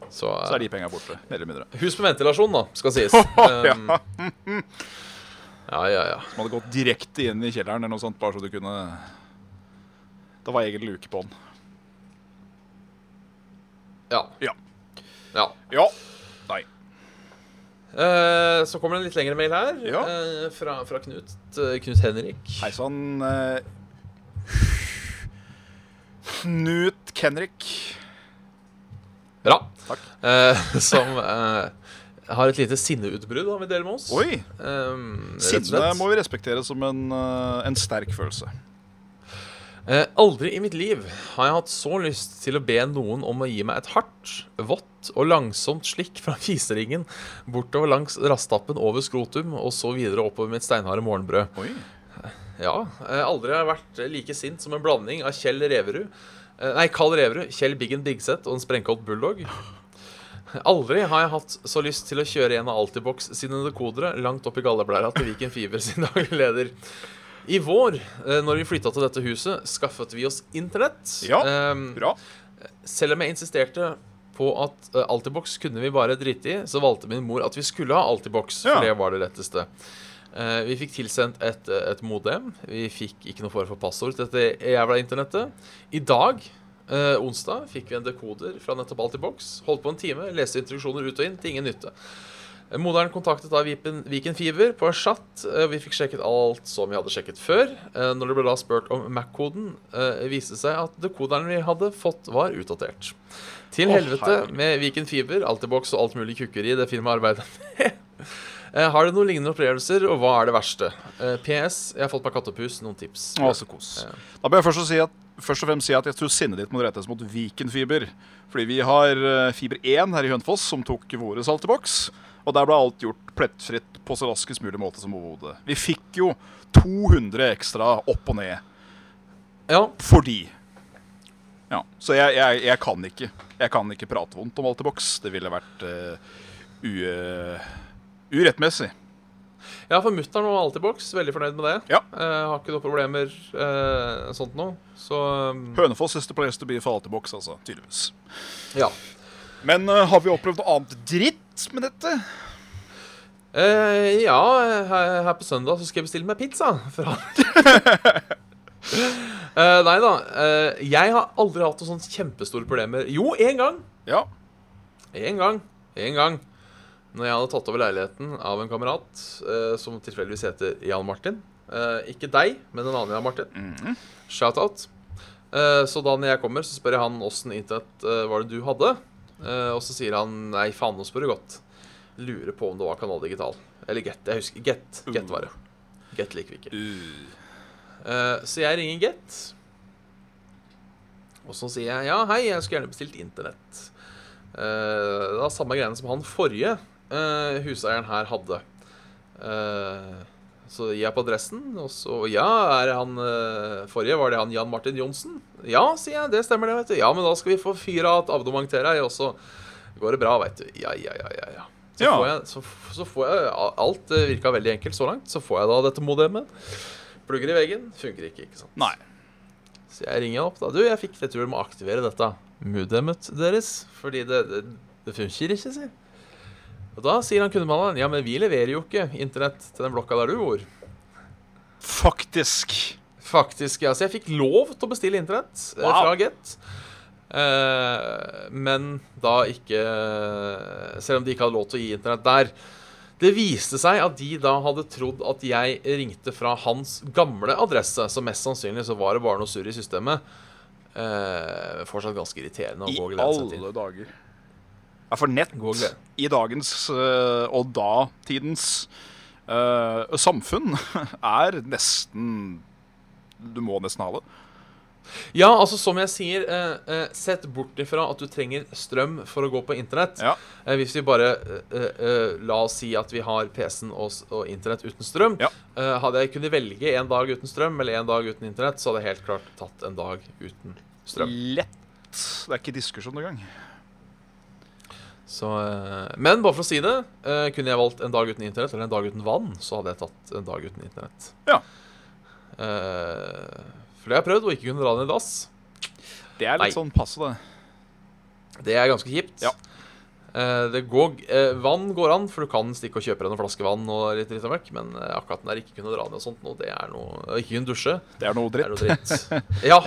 Så, eh, Så er de penga borte, mer eller mindre. Hus med ventilasjon, da, skal sies. Um, ja. ja, ja, ja. Som hadde gått direkte inn i kjelleren eller noe sånt, bare så du kunne Det var egen luke på den. Ja. Ja. ja. Ja. Nei. Eh, så kommer det en litt lengre mail her, Ja. eh, fra, fra Knut, eh, Knut Henrik. Hei sann. eh, Knut Kenrik. Bra. Takk. Eh, som eh, har et lite sinneutbrudd han vil dele med oss. Oi! Um, Sinne må vi respektere som en, eh, en sterk følelse. Eh, aldri i mitt liv har jeg hatt så lyst til å be noen om å gi meg et hardt, vått og langsomt slikk fra fiseringen bortover langs rastappen over skrotum og så videre oppover mitt steinharde morgenbrød. Oi. Ja, eh, aldri har jeg vært like sint som en blanding av Kjell Reverud eh, Nei, Karl Reverud, Kjell Biggen Bigseth og en sprengkolt bulldog. Aldri har jeg hatt så lyst til å kjøre en av Altibox sine dekodere langt opp i galleblæra til Viken Fiber sin daglig leder. I vår, eh, når vi flytta til dette huset, skaffet vi oss internett. Ja, Ehm, Bra. selv om jeg insisterte på at eh, Altibox kunne vi bare drite i, så valgte min mor at vi skulle ha Altibox, Ja. for det var det letteste. Eh, vi fikk tilsendt et, eh, et modem. Vi fikk ikke noe form for passord til dette jævla internettet. I dag, eh, onsdag, fikk vi en dekoder fra nettopp Altibox. Holdt på en time, leste instruksjoner ut og inn, til ingen nytte. Eh, Moderen kontaktet da Vipen, Viken Fiber på chat. eh, Vi fikk sjekket alt som vi hadde sjekket før. Eh, Når det ble da spurt om Mac-koden, eh, viste det seg at dekoderen vi hadde fått, var utdatert. Til Å, helvete herregud. med Viken Fiber, Altibox og alt mulig kukkeri det firmaet arbeider med. Eh, Har du noen lignende opplevelser, og hva er det verste? Eh, PS. Jeg har fått meg katt og pus. Noen tips? Å, så kos. Da bør jeg først, og si at, først og fremst si at jeg tror sinnet ditt må rettes mot Viken Fiber. Fordi vi har eh, Fiber 1 her i Hønefoss, som tok våre salt i boks. Og der ble alt gjort plettfritt på så raskest mulig måte som overhodet. Vi fikk jo 200 ekstra opp og ned Ja. fordi Ja. Så jeg, jeg, jeg kan ikke. Jeg kan ikke prate vondt om alt i boks. Det ville vært eh, u, urettmessig. ja, for mutter'n var Altibox. Veldig fornøyd med det. Ja. Eh, Har ikke noen problemer eh, sånt noe. Så um, Hønefoss is the place to be for alt i boks, altså. Tydeligvis. ja. Men eh, har vi opplevd noe annet dritt med dette? Eh, ja, her, her på søndag så skal jeg bestille meg pizza. Fra. Eh, nei da. eh, jeg har aldri hatt noen sånne kjempestore problemer. Jo, én gang. Ja. Én gang. Én gang. Når jeg hadde tatt over leiligheten av en kamerat eh, som tilfeldigvis heter Jan Martin. Eh, ikke deg, men en annen Jan Martin. Shout-out. Eh, så da når jeg kommer, så spør jeg han åssen internett eh, var det du hadde. Eh, og så sier han nei, faen, nå spør du godt. Lurer på om det var Kanal Digital. Eller Get. Jeg husker Get. Get var det. Get liker vi ikke. Uh, Eh, så jeg ringer Get. Og så sier jeg ja, hei, jeg skulle gjerne bestilt internett. Eh, det var samme greiene som han forrige eh, huseieren her hadde. Eh, så gir jeg på adressen, og så Ja, er det han eh, forrige? Var det han Jan Martin Johnsen? Ja, sier jeg. Det stemmer, det, vet du. Ja, men da skal vi få fyra av et abonnement til deg, og så går det bra, veit du. Ja, ja, ja, ja. ja. Så, Ja. Får jeg, så, så får jeg Alt eh, virka veldig enkelt så langt. Så får jeg da dette modemet. Plugger i veggen. Funker ikke, ikke sant. Nei. Så jeg ringer opp da. Du, jeg fikk retur med å aktivere dette modemet deres. Fordi det, det, det funker ikke, sier jeg. Og da sier han kundemannen ja, men vi leverer jo ikke internett til den blokka der du bor. Faktisk. Faktisk, ja. Så jeg fikk lov til å bestille internett eh, Wow. fra Get. Eh, men da ikke eh, Selv om de ikke hadde lov til å gi internett der. Det viste seg at de da hadde trodd at jeg ringte fra hans gamle adresse. Så mest sannsynlig så var det bare noe surr i systemet. Eh, fortsatt ganske irriterende. å I gå og glede seg til. alle dager. Ja, for nett Gå og gled- i dagens eh, og da-tidens eh, samfunn er nesten Du må nesten ha det. Ja, altså som jeg sier, eh, eh, sett bort ifra at du trenger strøm for å gå på internett. Ja. Eh, hvis vi bare eh, eh, la oss si at vi har PC-en og, s- og internett uten strøm. Ja. Eh, hadde jeg kunnet velge en dag uten strøm eller en dag uten internett, så hadde jeg helt klart tatt en dag uten strøm. Lett. Det er ikke diskusjon engang. Så, eh, men bare for å si det, eh, kunne jeg valgt en dag uten internett eller en dag uten vann, så hadde jeg tatt en dag uten internett. Ja. Eh, for det har jeg prøvd, og ikke kunne dra den i dass. Det er litt Nei. sånn passe, det. Det er ganske kjipt. Ja. Eh, det går, eh, vann går an, for du kan stikke og kjøpe deg noen flaske vann. og litt, dritt og møkk, Men eh, akkurat den der ikke kunne dra ned og sånt, nå, det er noe, og ikke kunne dusje, Det er noe det er dritt. noe dritt. Ja.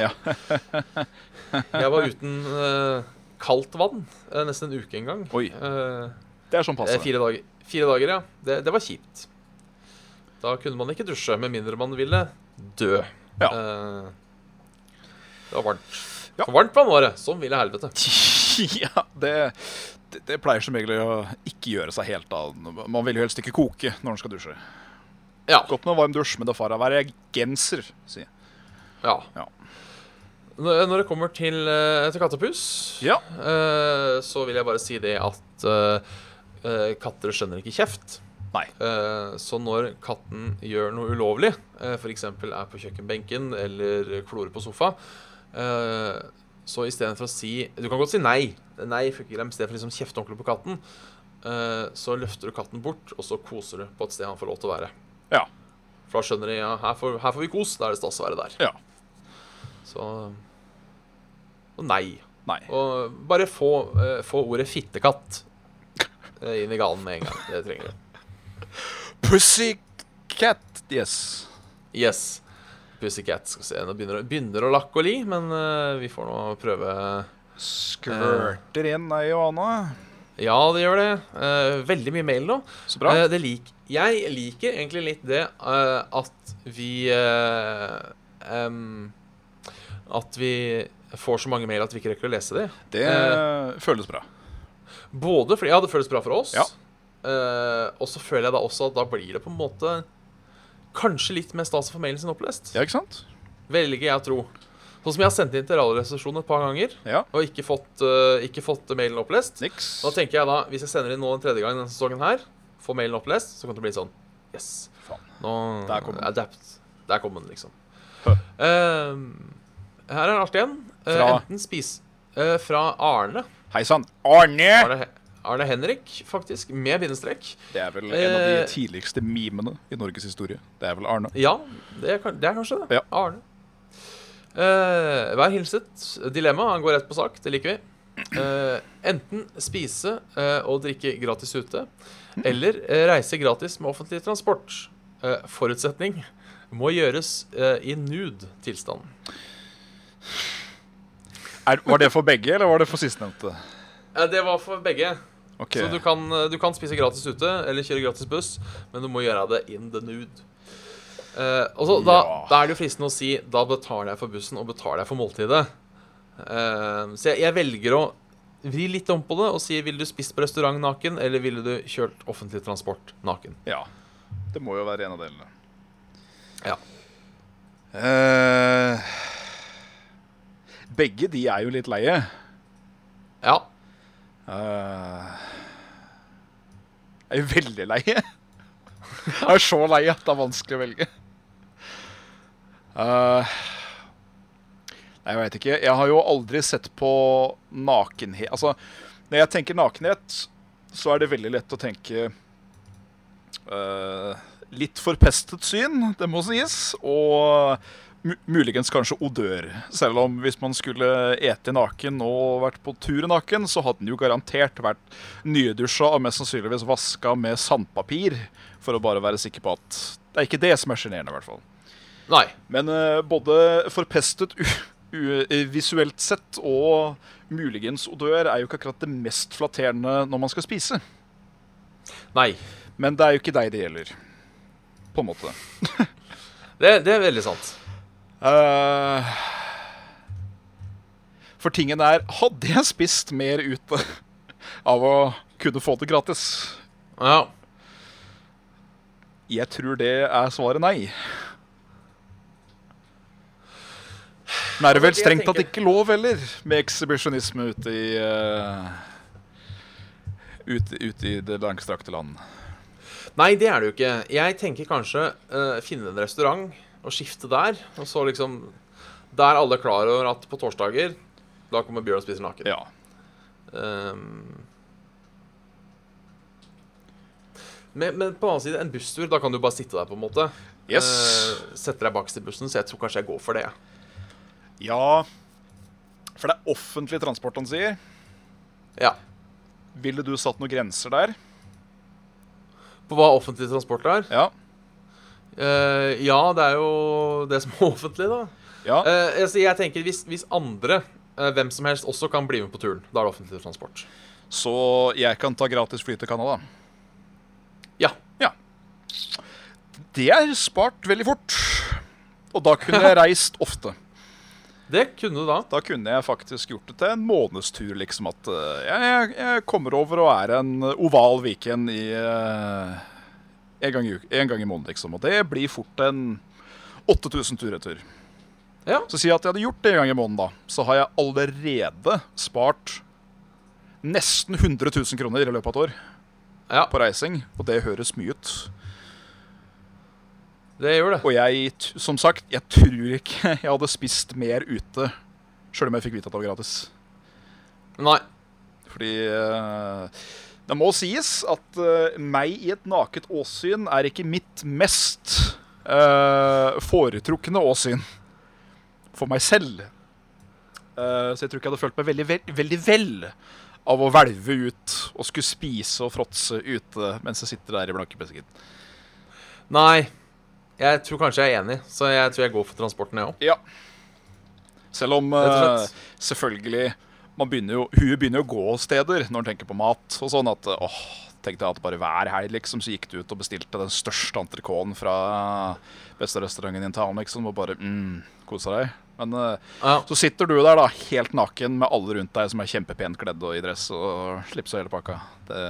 Ja. Jeg var uten eh, kaldt vann eh, nesten en uke en gang. Oi. Eh, Det er sånn eh, passe. fire, dager, fire dager, ja. Det, det var kjipt. Da kunne man ikke dusje, med mindre man ville dø. Ja. Eh, det var varmt. Ja. For varmt vann var det. Som ville helvete. ja, det, det, det pleier som regel å ikke gjøre seg helt av. Man vil jo helst ikke koke når man skal dusje. Ja. Godt med en varm dusj, men det får være genser, sier jeg. Ja. Ja. Når når det kommer til, eh, til kattepus, Ja. eh, så vil jeg bare si det at eh, eh, katter skjønner ikke kjeft. Nei. Eh, Så når katten gjør noe ulovlig, f.eks. er på kjøkkenbenken eller klorer på sofa, eh, så istedenfor å si Du kan godt si nei. Nei, fuck dem, istedenfor liksom kjefte ordentlig på katten. eh, Så løfter du katten bort, og så koser du på et sted han får lov til å være. Ja. For da skjønner de ja, her får, her får vi kos. Da er det stas å være der. Ja. Så Og nei. Nei. Og bare få, eh, få ordet 'fittekatt' eh, inn i ganen med en gang. Det trenger du. Pussycat. Yes. Yes. Pussycat. Skal vi se. Nå begynner, det- begynner det å lakke og li, men eh, vi får nå prøve. Skvørter inn ei og anna. Ja, det gjør det. Eh, veldig mye mail nå. Så bra. Eh, det lik, jeg liker egentlig litt det eh, at vi eh, em, At vi får så mange mail at vi ikke rekker å lese dem. Det eh, føles bra. Både fordi ja, det føles bra for oss, Ja. eh, og så føler jeg da også at da blir det på en måte kanskje litt mer stas å få mailen sin opplest. Ja, ikke sant? Velger jeg å tro. Sånn som jeg har sendt inn til Radioresepsjonen et par ganger Ja. og ikke fått, eh, ikke fått mailen opplest. Niks. Da tenker jeg da, hvis jeg sender inn nå en tredje gang denne sesongen her, får mailen opplest, så kommer det til å bli sånn. Yes. Faen. Nå Der kom den. Adapt. Der kom den, liksom. Hø. Eh, her er en artig en. Eh, Fra? Enten spis... eh, fra Arne. Hei sann. Arne! Arne, Arne Henrik, faktisk. Med bindestrek. Det er vel en av de Eh. tidligste memene i Norges historie. Det er vel Arne. Ja, det er, kan- det er kanskje det. Ja. Arne. Eh, vær hilset. Dilemma, han går rett på sak. Det liker vi. Eh, enten spise eh, og drikke gratis ute, eller eh, reise gratis med offentlig transport. Eh, forutsetning må gjøres eh, i nude tilstand. Er, var det for begge, eller var det for sistnevnte? Eh, det var for begge. Ok. Så du kan, eh, du kan spise gratis ute eller kjøre gratis buss, men du må gjøre det in the nude. Eh, og så, da, Ja. da er det jo fristende å si da betaler jeg for bussen og betaler jeg for måltidet. Eh, så jeg, jeg velger å vri litt om på det og si ville du spist på restaurant naken, eller ville du kjørt offentlig transport naken? Ja. Det må jo være en av delene. Ja. Eh, begge de er jo litt leie. Ja. Eh, jeg er jo veldig leie. Jeg er så lei at det er vanskelig å velge. Eh, nei, jeg veit ikke. Jeg har jo aldri sett på nakenhet Altså, når jeg tenker nakenhet, så er det veldig lett å tenke eh, Litt forpestet syn, det må sies, og mu muligens kanskje odør. Selv om hvis man skulle ete naken og vært på tur naken, så hadde den jo garantert vært nydusja og mest sannsynligvis vaska med sandpapir, for å bare være sikker på at Det er ikke det som er sjenerende, i hvert fall. Nei. Men eh, både forpestet u u visuelt sett og muligens odør er jo ikke akkurat det mest flatterende når man skal spise. Nei. Men det er jo ikke deg det gjelder. På en måte. Det, det er veldig sant. Eh, for tingen er Hadde jeg spist mer ut av å kunne få det gratis? Ja. Jeg tror det er svaret nei. Men Ja, det er det er vel det jeg strengt tatt tenker. ikke lov heller, med ekshibisjonisme ute i eh, ute, ute i det langstrakte land? Nei, det er det jo ikke. Jeg tenker kanskje eh, finne en restaurant og skifte der. Og så liksom Der alle er klar over at på torsdager da kommer Bjørn og spiser naken. Ja. Ehm. men, men på den annen side, en busstur, da kan du bare sitte der, på en måte. Yes. Eh, sette deg bakst i bussen, så jeg tror kanskje jeg går for det. jeg. Ja. For det er offentlig transport han sier. Ja. Ville du satt noen grenser der? På hva offentlig transport er? Ja. Eh, ja, det er jo det som er offentlig, da. Ja. Eh, altså, jeg tenker hvis, hvis andre, eh, hvem som helst, også kan bli med på turen, da er det offentlig transport. Så jeg kan ta gratis fly til Canada. Ja. Det er spart veldig fort. Og da kunne jeg reist ofte. Det kunne du da. Da kunne jeg faktisk gjort det til en månedstur, liksom. At eh, jeg, jeg, jeg kommer over og er en oval Viken i eh, en, gang i uke, en gang i måneden, liksom. Og det blir fort en 8000 tur-retur. Ja. Så si at jeg hadde gjort det en gang i måneden, da. Så har jeg allerede spart nesten 100 000 kroner i løpet av et år ja. på reising. Og det høres mye ut. Det gjør det. Og jeg, t- som sagt, jeg tror ikke jeg hadde spist mer ute, sjøl om jeg fikk vite at det var gratis. Nei. Fordi eh, det må sies at eh, meg i et naket åsyn er ikke mitt mest eh, foretrukne åsyn for meg selv. Eh, så jeg tror ikke jeg hadde følt meg veldig vel, veldig vel av å hvelve ut og skulle spise og fråtse ute mens jeg sitter der i blankebesken. Nei. Jeg tror kanskje jeg er enig, så jeg tror jeg går for transporten, jeg òg. Ja. Selv om Rett og eh, slett. selvfølgelig man begynner jo, Huet begynner jo å gå steder når en tenker på mat og sånn. At eh, åh, tenkte jeg at bare hver helg liksom, så gikk du ut og bestilte den største entrecôten fra eh, beste restauranten i en town, liksom, og bare mm, kosa deg. Men eh, Ja. så sitter du der, da, helt naken med alle rundt deg som er kjempepent kledd og i dress og slips og hele pakka. Det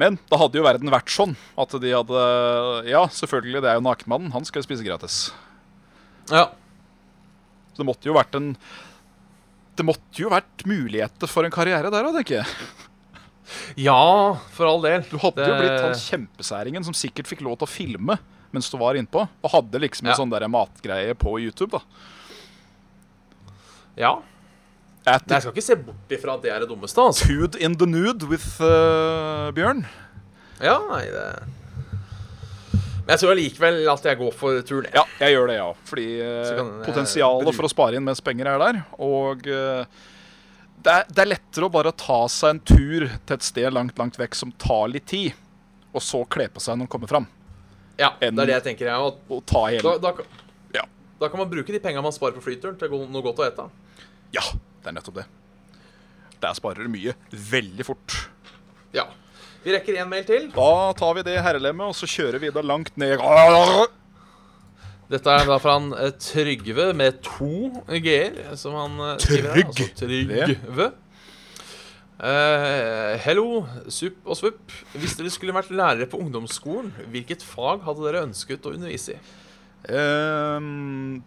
men da hadde jo verden vært sånn at de hadde Ja, selvfølgelig, det er jo nakenmannen. Han skal jo spise gratis. ja. Så det måtte jo vært en Det måtte jo vært muligheter for en karriere der òg, tenker jeg. Ja, for all del. Du hadde jo Det- blitt han kjempesæringen som sikkert fikk lov til å filme mens du var innpå, og hadde liksom en Ja. sånn der matgreie på YouTube, da. Ja. Nei, jeg At skal ikke se bort ifra at det er det dummeste, altså. Food in the nude with eh, Bjørn. Ja, nei, det Men jeg tror allikevel at jeg går for turen. Ja, jeg gjør det, ja. Fordi eh, Så kan jeg potensialet bruke- for å spare inn mens penger er der. Og eh, det, er, det er lettere å bare ta seg en tur til et sted langt, langt vekk som tar litt tid, og så kle på seg når man kommer fram. Ja, det enn- er det jeg tenker, jeg òg. Og ta Da, hele da, Ja. da kan man bruke de penga man sparer på flyturen, til go- noe godt å ete. Ja, det er nettopp det. Der sparer du mye veldig fort. Ja. Vi rekker én mail til. Da tar vi det herrelemmet, og så kjører vi det langt ned. Dette er da fra han eh, Trygve med to g-er, som han eh, skriver her. Altså Trygve. Eh, hello, supp og svupp. Hvis dere skulle vært lærere på ungdomsskolen, hvilket fag hadde dere ønsket å undervise i? Ehm,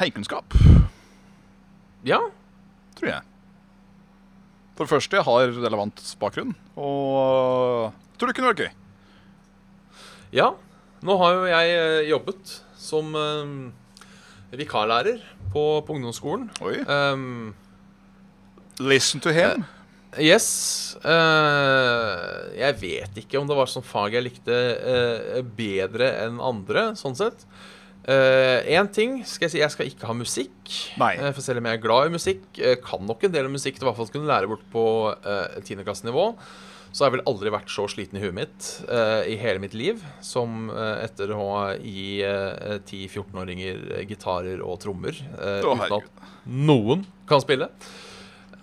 heikunnskap, Ja, tror jeg. For det første, jeg har relevant bakgrunn, og tror det kunne vært gøy. Ja. Nå har jo jeg eh, jobbet som eh, vikarlærer på, på ungdomsskolen. Oi. Um, Listen to him. yes. eh, jeg vet ikke om det var sånn fag jeg likte eh, bedre enn andre, sånn sett. Én ting skal jeg si, jeg skal ikke ha musikk. Nei. Eh, for selv om eh, jeg er glad i musikk, eh, kan nok en del musikk til hvert fall kunne lære bort på tiendeklassenivå, så har jeg vel aldri vært så sliten i huet mitt eh, i hele mitt liv som eh, etter å gi eh, 10-14-åringer gitarer og trommer eh, Å, uten at noen kan spille.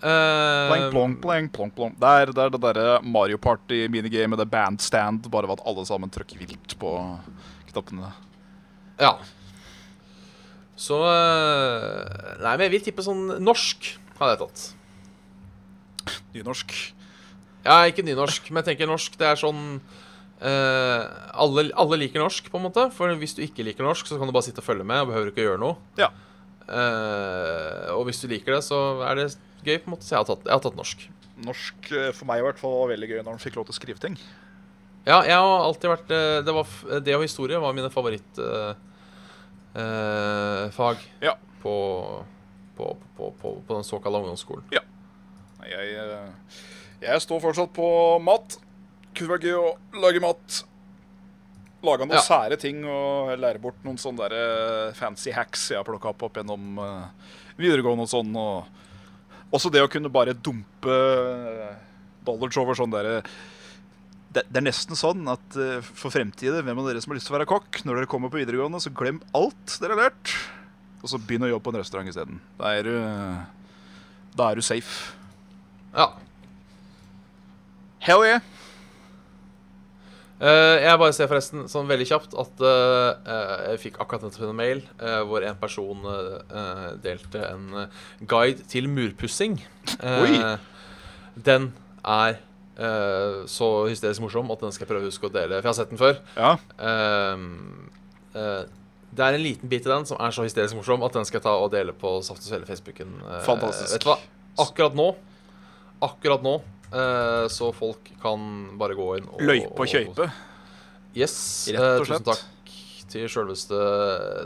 Eh, Plank, plonk, plank, plonk, plonk. Det er det, er det derre Mario Party-minigamet, det bandstand, bare ved at alle sammen trykker vilt på knappene. Ja. Så eh, Nei, men jeg vil tippe sånn norsk hadde jeg tatt. Nynorsk. Ja, ikke nynorsk, men jeg tenker norsk. Det er sånn eh, alle, alle liker norsk, på en måte. For hvis du ikke liker norsk, så kan du bare sitte og følge med og behøver ikke å gjøre noe. Ja. Eh, og hvis du liker det, så er det gøy, på en måte. Så jeg har tatt, jeg har tatt norsk. Norsk eh, for meg i hvert fall var veldig gøy når han fikk lov til å skrive ting. Ja, jeg har alltid vært eh, Det, var, f- det og historie var mine favorittfag eh, fag Ja. på, på, på, på, på den såkalte ungdomsskolen. Nei, Jeg, eh, jeg står fortsatt på mat. Kunne vært gøy å lage mat. Lage noen Ja. sære ting og lære bort noen sånne der eh, fancy hacks jeg har plukka opp opp gjennom eh, videregående og sånn. Og også det å kunne bare dumpe eh, dollars over sånn derre det, det er nesten sånn at eh, for fremtiden, hvem av dere som har lyst til å være kokk, når dere kommer på videregående, så glem alt dere har lært, og så begynn å jobbe på en restaurant isteden. Da er du, da er du safe. Ja. Hell yeah! Eh, jeg bare ser forresten sånn veldig kjapt at eh, eh, jeg fikk akkurat nettopp en mail eh, hvor en person eh, eh, delte en eh, guide til murpussing. Eh, Oi! Den er eh, så hysterisk morsom at den skal jeg prøve å huske å dele, for jeg har sett den før. Ja. Eh, eh, det er en liten bit i den som er så hysterisk morsom at den skal jeg ta og dele på Saft og Svele Facebooken. eh, Fantastisk. Vet du hva? Akkurat nå, akkurat nå, eh, så folk kan bare gå inn og Løype og kjøype. sånn Yes. Rett og eh, slett. Tusen takk til sjølveste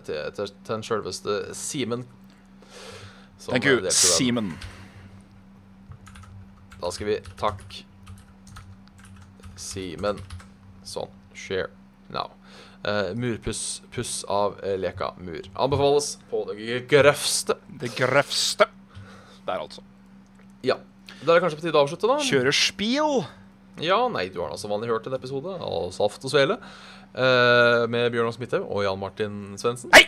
til, til, til den sjølveste Simen. som eh, Thank you, delte den. Seaman. Da skal vi Takk, Simen. Sånn. Share now. Eh, murpuss puss av eh, leka mur. Anbefales på det grøvste. Det grøvste. Der, altså. Ja. Da er det kanskje på tide å avslutte, da? Kjører spil. Ja, nei, du har da som vanlig hørt en episode av Saft og Svele eh, med Bjørn Ås Midthaug og Jan Martin Svendsen. Hei!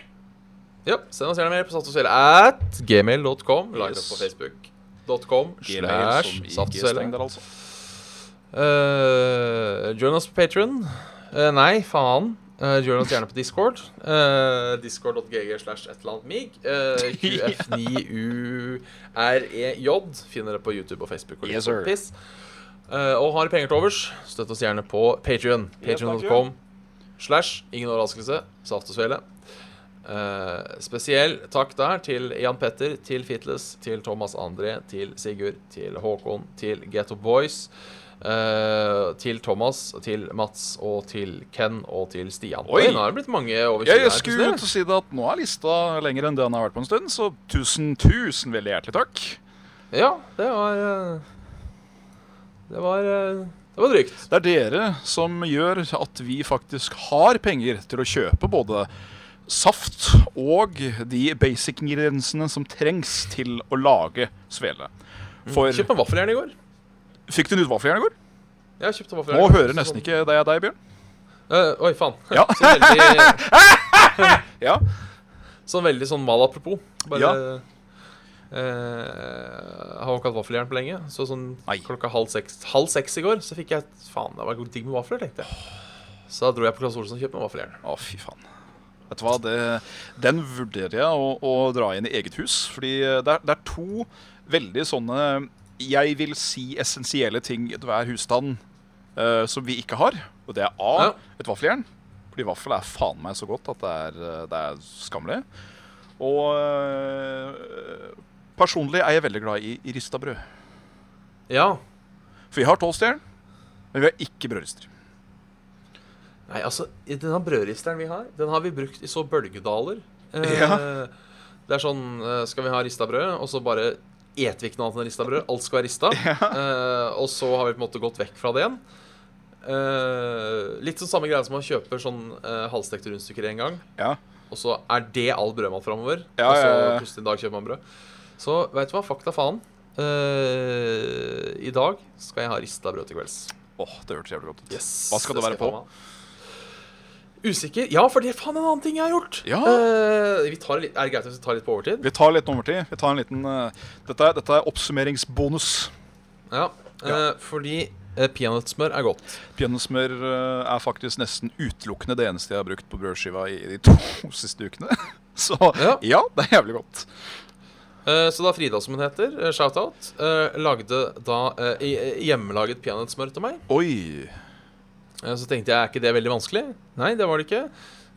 Ja, send oss gjerne mer på saft og svele at gmail.com. Like oss Yes. på facebook.com. Gmail som Slash ikke saft og streng svele. der, altså. Eh, join oss på Patron. nei, faen. Eh, join oss gjerne på Discord. Eh, Discord.gg slash et eller annet mig. Eh, QF9UREJ E finner det på YouTube og Facebook. Og, litt Yes, sir. sånn piss. Eh, og har penger til overs, støtt oss gjerne på Patrion. Yes, takk, Patrion.com slash ingen overraskelse, saft og svele. Eh, spesiell takk der til Jan Petter, til Fitles, til Thomas André, til Sigurd, til Håkon, til Getto Boys. eh, til Thomas, til Mats og til Ken og til Stian. Oi. nå er det blitt mange over 20 Jeg, her, jeg skulle plutselig. ut og si det at nå er lista lenger enn det den har vært på en stund, så tusen, tusen veldig hjertelig takk. Ja, det var eh, Det var eh, Det var drygt. Det er dere som gjør at vi faktisk har penger til å kjøpe både saft og de basic ingrediensene som trengs til å lage svele. For Kjøpte en vaffel gjerne i går. Fikk du nudvaffel i går? Jeg kjøpte vaffel gjerne Nå i går, hører nesten så- ikke det er deg, Bjørn. Eh, oi, faen. Ja. sånn veldig, Ja. sånn veldig sånn mal apropos. Bare Ja. eh, Har jo ikke hatt vaffeljern på lenge. Så sånn Nei. klokka halv seks, halv seks i går så fikk jeg Faen, det var ikke digg med vafler, tenkte jeg. Så da dro jeg på Claes Olsson og kjøpte meg vaffeljern. Å, fy faen. Vet du hva, det, den vurderer jeg å, å dra inn i eget hus. Fordi eh, det er, det er to veldig sånne Jeg vil si essensielle ting i hver husstand eh, som vi ikke har. Og det er A, Ja. et vaffeljern. Fordi vaffel er faen meg så godt at det er, eh, det er skammelig. Og eh, personlig er jeg veldig glad i, i rista brød. Ja. For vi har toastjern, men vi har ikke brødrister. Nei, altså, i denne brødristeren vi har, den har vi brukt i så bølgedaler. Eh, Ja. Det er sånn eh, Skal vi ha rista brød, og så bare eter vi ikke noe annet enn rista brød. Alt skal være rista. Eh, og så har vi på en måte gått vekk fra det igjen. Eh, litt sånn samme greia som man kjøper sånn eh, halvstekte rundstykker en gang, Ja. og så er det all brødmat framover. Ja, og så ja, ja. plutselig en dag kjøper man brød. Så veit du hva, fakta faen. Eh, I dag skal jeg ha rista brød til kvelds. Åh, det hørtes jævlig godt ut. Yes, Hva skal det være jeg på? ta meg av. Usikker? Ja, for det er faen en annen ting jeg har gjort. Ja. Eh, vi tar litt, er det greit hvis vi tar litt på overtid? Vi tar litt nummertid. Vi tar en liten eh, dette, er, dette er oppsummeringsbonus. Ja. Ja. eh, fordi eh, peanøttsmør er godt. Peanøttsmør eh, er faktisk nesten utelukkende det eneste jeg har brukt på brødskiva i de to siste ukene. Så ja, Ja. det er jævlig godt. Eh, så da Frida, som hun heter, eh, shout-out, eh, lagde da eh, i- i- hjemmelaget peanøttsmør til meg. Oi. Eh, Så tenkte jeg, er ikke det veldig vanskelig? Nei, det var det ikke.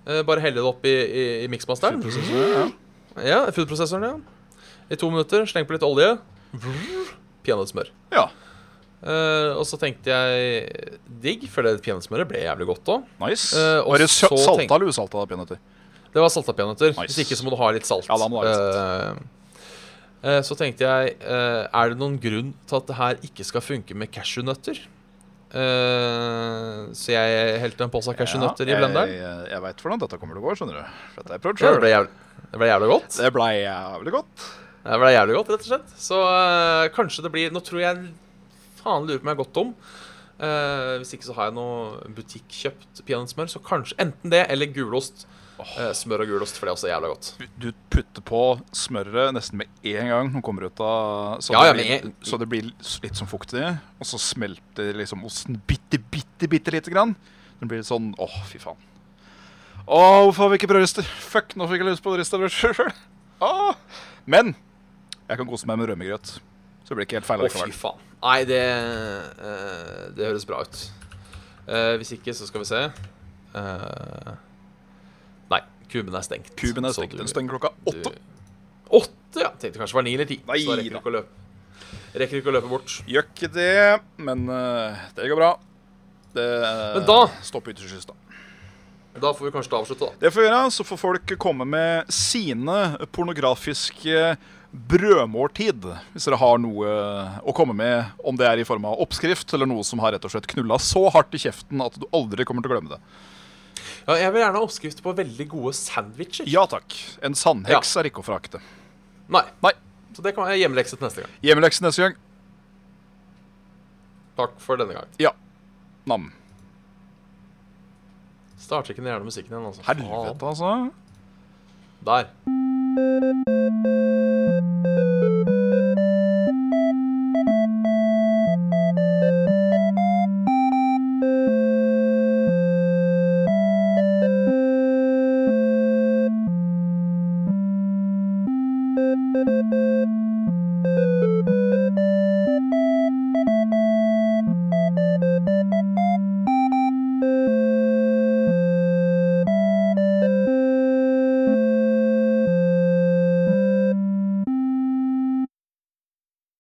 Eh, Bare helle det opp i, i, i miksmasteren. Prosessoren, ja. Ja, foodprosessoren, ja. I to minutter, sleng på litt olje. Vrr, Peanøttsmør. ja. Eh, og så tenkte jeg digg, for det peanøttsmøret ble jævlig godt òg. Nice. Eh, og Var det så salt- tenk- salta eller usalta peanøtter? Det var salta peanøtter. Nice. Hvis ikke så må du ha litt salt. Ja, da må du ha litt Eh, eh, så tenkte jeg, eh, er det noen grunn til at det her ikke skal funke med cashewnøtter? Eh, så jeg helte en pose cashewnøtter i blenderen. Jeg, jeg, jeg veit hvordan dette kommer til å gå, skjønner du. Dette har jeg prøvd Ja, det sjøl. ble jævlig, det ble jævlig godt. Det blei jævlig godt. Det ble jævlig godt, rett og slett. Så eh, kanskje det blir Nå tror jeg Faen lurer på om jeg er godt tom. Eh, hvis ikke så har jeg noe butikkjøpt peanøttsmør. Så kanskje enten det eller gulost. Eh, smør og gulost, for det er også jævlig godt. du putter på smøret nesten med en gang den kommer ut av Så, Ja, ja, det, med blir, en- så det blir litt sånn fuktig, og så smelter liksom osten bitte, bitte, bitte lite grann. Den blir litt sånn Åh, fy faen. Å, hvorfor har vi ikke brødrister? Fuck, nå fikk jeg lyst på brødristabrød sjøl. Men jeg kan kose meg med rømmegrøt. Så det blir ikke helt feil Å, fy allikevel. faen. Nei, det eh, Det høres bra ut. Eh, hvis ikke, så skal vi se. Eh, nei, kuben er stengt. Kuben er Så stengt. du- Den stenger klokka åtte. du- Åtte, ja. Tenkte kanskje det var ni eller ti. Nei så da rekker du da. ikke å løpe. Rekker du ikke å løpe bort. Gjør ikke det, men eh, det går bra. Det Men da- stopper ytterst sist, da. Da får vi kanskje avslutte, da. Det får vi gjøre, så får folk komme med sine pornografiske brødmåltid. Hvis dere har noe eh, å komme med, om det er i form av oppskrift eller noe som har rett og slett knulla så hardt i kjeften at du aldri kommer til å glemme det. Ja, jeg vil gjerne ha oppskrift på veldig gode sandwicher. Ja takk. En sandheks er ikke å frakte. Nei. Nei. Så det kan jeg hjemmelekse til neste gang. Hjemmelekse neste gang. Takk for denne gang. Ja. Nam. Starter ikke den gjerne musikken igjen, altså. Helvete, altså. Faen. Der.